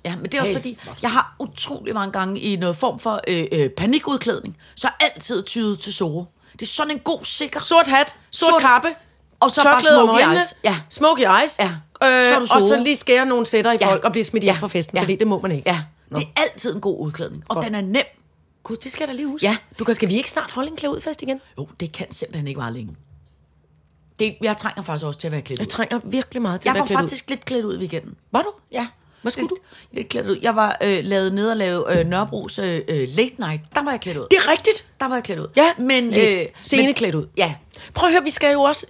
Speaker 3: Ja, men det er også hey. fordi, jeg har utrolig mange gange i noget form for øh, øh, panikudklædning, så er jeg altid tydet til Zorro. Det er sådan en god, sikker...
Speaker 4: Sort hat, sort, sort kappe,
Speaker 3: Og så bare
Speaker 4: tørklæde om
Speaker 3: smoky
Speaker 4: øjnene,
Speaker 3: eyes. Ja.
Speaker 4: smoky eyes,
Speaker 3: Ja.
Speaker 4: Øh,
Speaker 3: Så er du
Speaker 4: og så
Speaker 3: solo.
Speaker 4: lige skære nogle sætter i
Speaker 3: Ja.
Speaker 4: folk og blive smidt hjem
Speaker 3: Ja.
Speaker 4: fra festen,
Speaker 3: Ja.
Speaker 4: fordi det må man ikke.
Speaker 3: Ja, det er altid en god udklædning, og den er nem.
Speaker 4: Gud, det skal jeg da lige huske.
Speaker 3: Ja.
Speaker 4: Du kan, skal vi ikke snart holde en klæde ud fest igen?
Speaker 3: Jo, det kan simpelthen ikke vare længe. Det, jeg trænger faktisk også til at være klædt ud.
Speaker 4: Jeg trænger virkelig meget til
Speaker 3: Jeg
Speaker 4: at være
Speaker 3: var
Speaker 4: klædt
Speaker 3: faktisk lidt klædt ud i weekenden.
Speaker 4: ud. Var du?
Speaker 3: Ja.
Speaker 4: Hvad skulle
Speaker 3: lidt,
Speaker 4: du?
Speaker 3: Lidt klædt ud. Jeg var øh, lavet ned og lave øh, Nørrebro's øh, late night. Der var jeg klædt ud.
Speaker 4: Det er rigtigt.
Speaker 3: Der var jeg klædt ud.
Speaker 4: Ja,
Speaker 3: men... øh,
Speaker 4: lidt.
Speaker 3: men-
Speaker 4: Sceneklædt ud.
Speaker 3: Ja.
Speaker 4: Prøv at høre, vi skal jo også...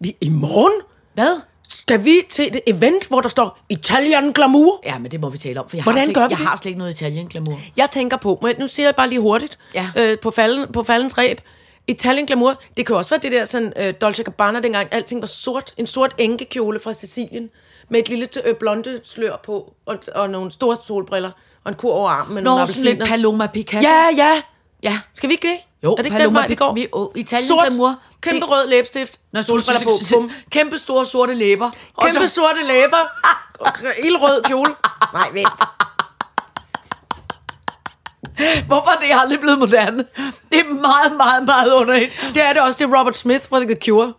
Speaker 4: Vi, I morgen
Speaker 3: Hvad?
Speaker 4: skal vi til et event, hvor der står Italian Glamour.
Speaker 3: Ja, men det må vi tale om, for jeg,
Speaker 4: Hvordan
Speaker 3: har, slet,
Speaker 4: gør vi
Speaker 3: jeg
Speaker 4: det?
Speaker 3: har slet ikke noget italien glamour.
Speaker 4: Jeg tænker på, men nu siger jeg bare lige hurtigt,
Speaker 3: Ja.
Speaker 4: øh, på, falden, på faldens ræb, Italian Glamour, det kan jo også være det der sådan, øh, Dolce Gabbana dengang, alting var sort, en sort enkekjole fra Sicilien, med et lille øh, blonde slør på, og, og nogle store solbriller, og en kur over armen med nogle
Speaker 3: Nå, sådan lidt
Speaker 4: appelsiner.
Speaker 3: Paloma Picasso.
Speaker 4: ja, ja.
Speaker 3: ja.
Speaker 4: Skal vi ikke det?
Speaker 3: Jo,
Speaker 4: er det ikke den
Speaker 3: Paloma
Speaker 4: vej, vi går?
Speaker 3: Pic- vi- åh, Italian
Speaker 4: sort,
Speaker 3: Glamour,
Speaker 4: kæmpe
Speaker 3: det-
Speaker 4: rød læbestift,
Speaker 3: Nå,
Speaker 4: solbriller på, bum.
Speaker 3: Kæmpe store sorte læber. Og
Speaker 4: Kæmpe
Speaker 3: så-
Speaker 4: sorte læber. Og ildrød kjole. Nej, vent.
Speaker 3: Hvorfor er det aldrig blevet moderne? Det er meget, meget, meget underligt.
Speaker 4: Det er det også. Det er Robert Smith fra The Cure.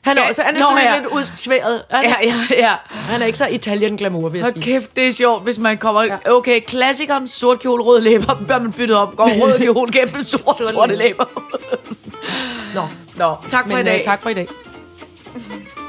Speaker 4: Han er
Speaker 3: Ja,
Speaker 4: også han er
Speaker 3: nå,
Speaker 4: sådan
Speaker 3: ja.
Speaker 4: lidt udsværet. Han,
Speaker 3: Ja, ja, ja.
Speaker 4: han er ikke så italien glamour, vil jeg
Speaker 3: Hold
Speaker 4: sige.
Speaker 3: kæft, det er sjovt, hvis man kommer... Okay, klassikeren, sort kjole, rød læber. Bør man byttet om? Går rød kjole, kæmpe store, sorte læber.
Speaker 4: Nå.
Speaker 3: Nå, øh, tak for
Speaker 4: Men,
Speaker 3: i dag.
Speaker 4: øh, tak for i dag.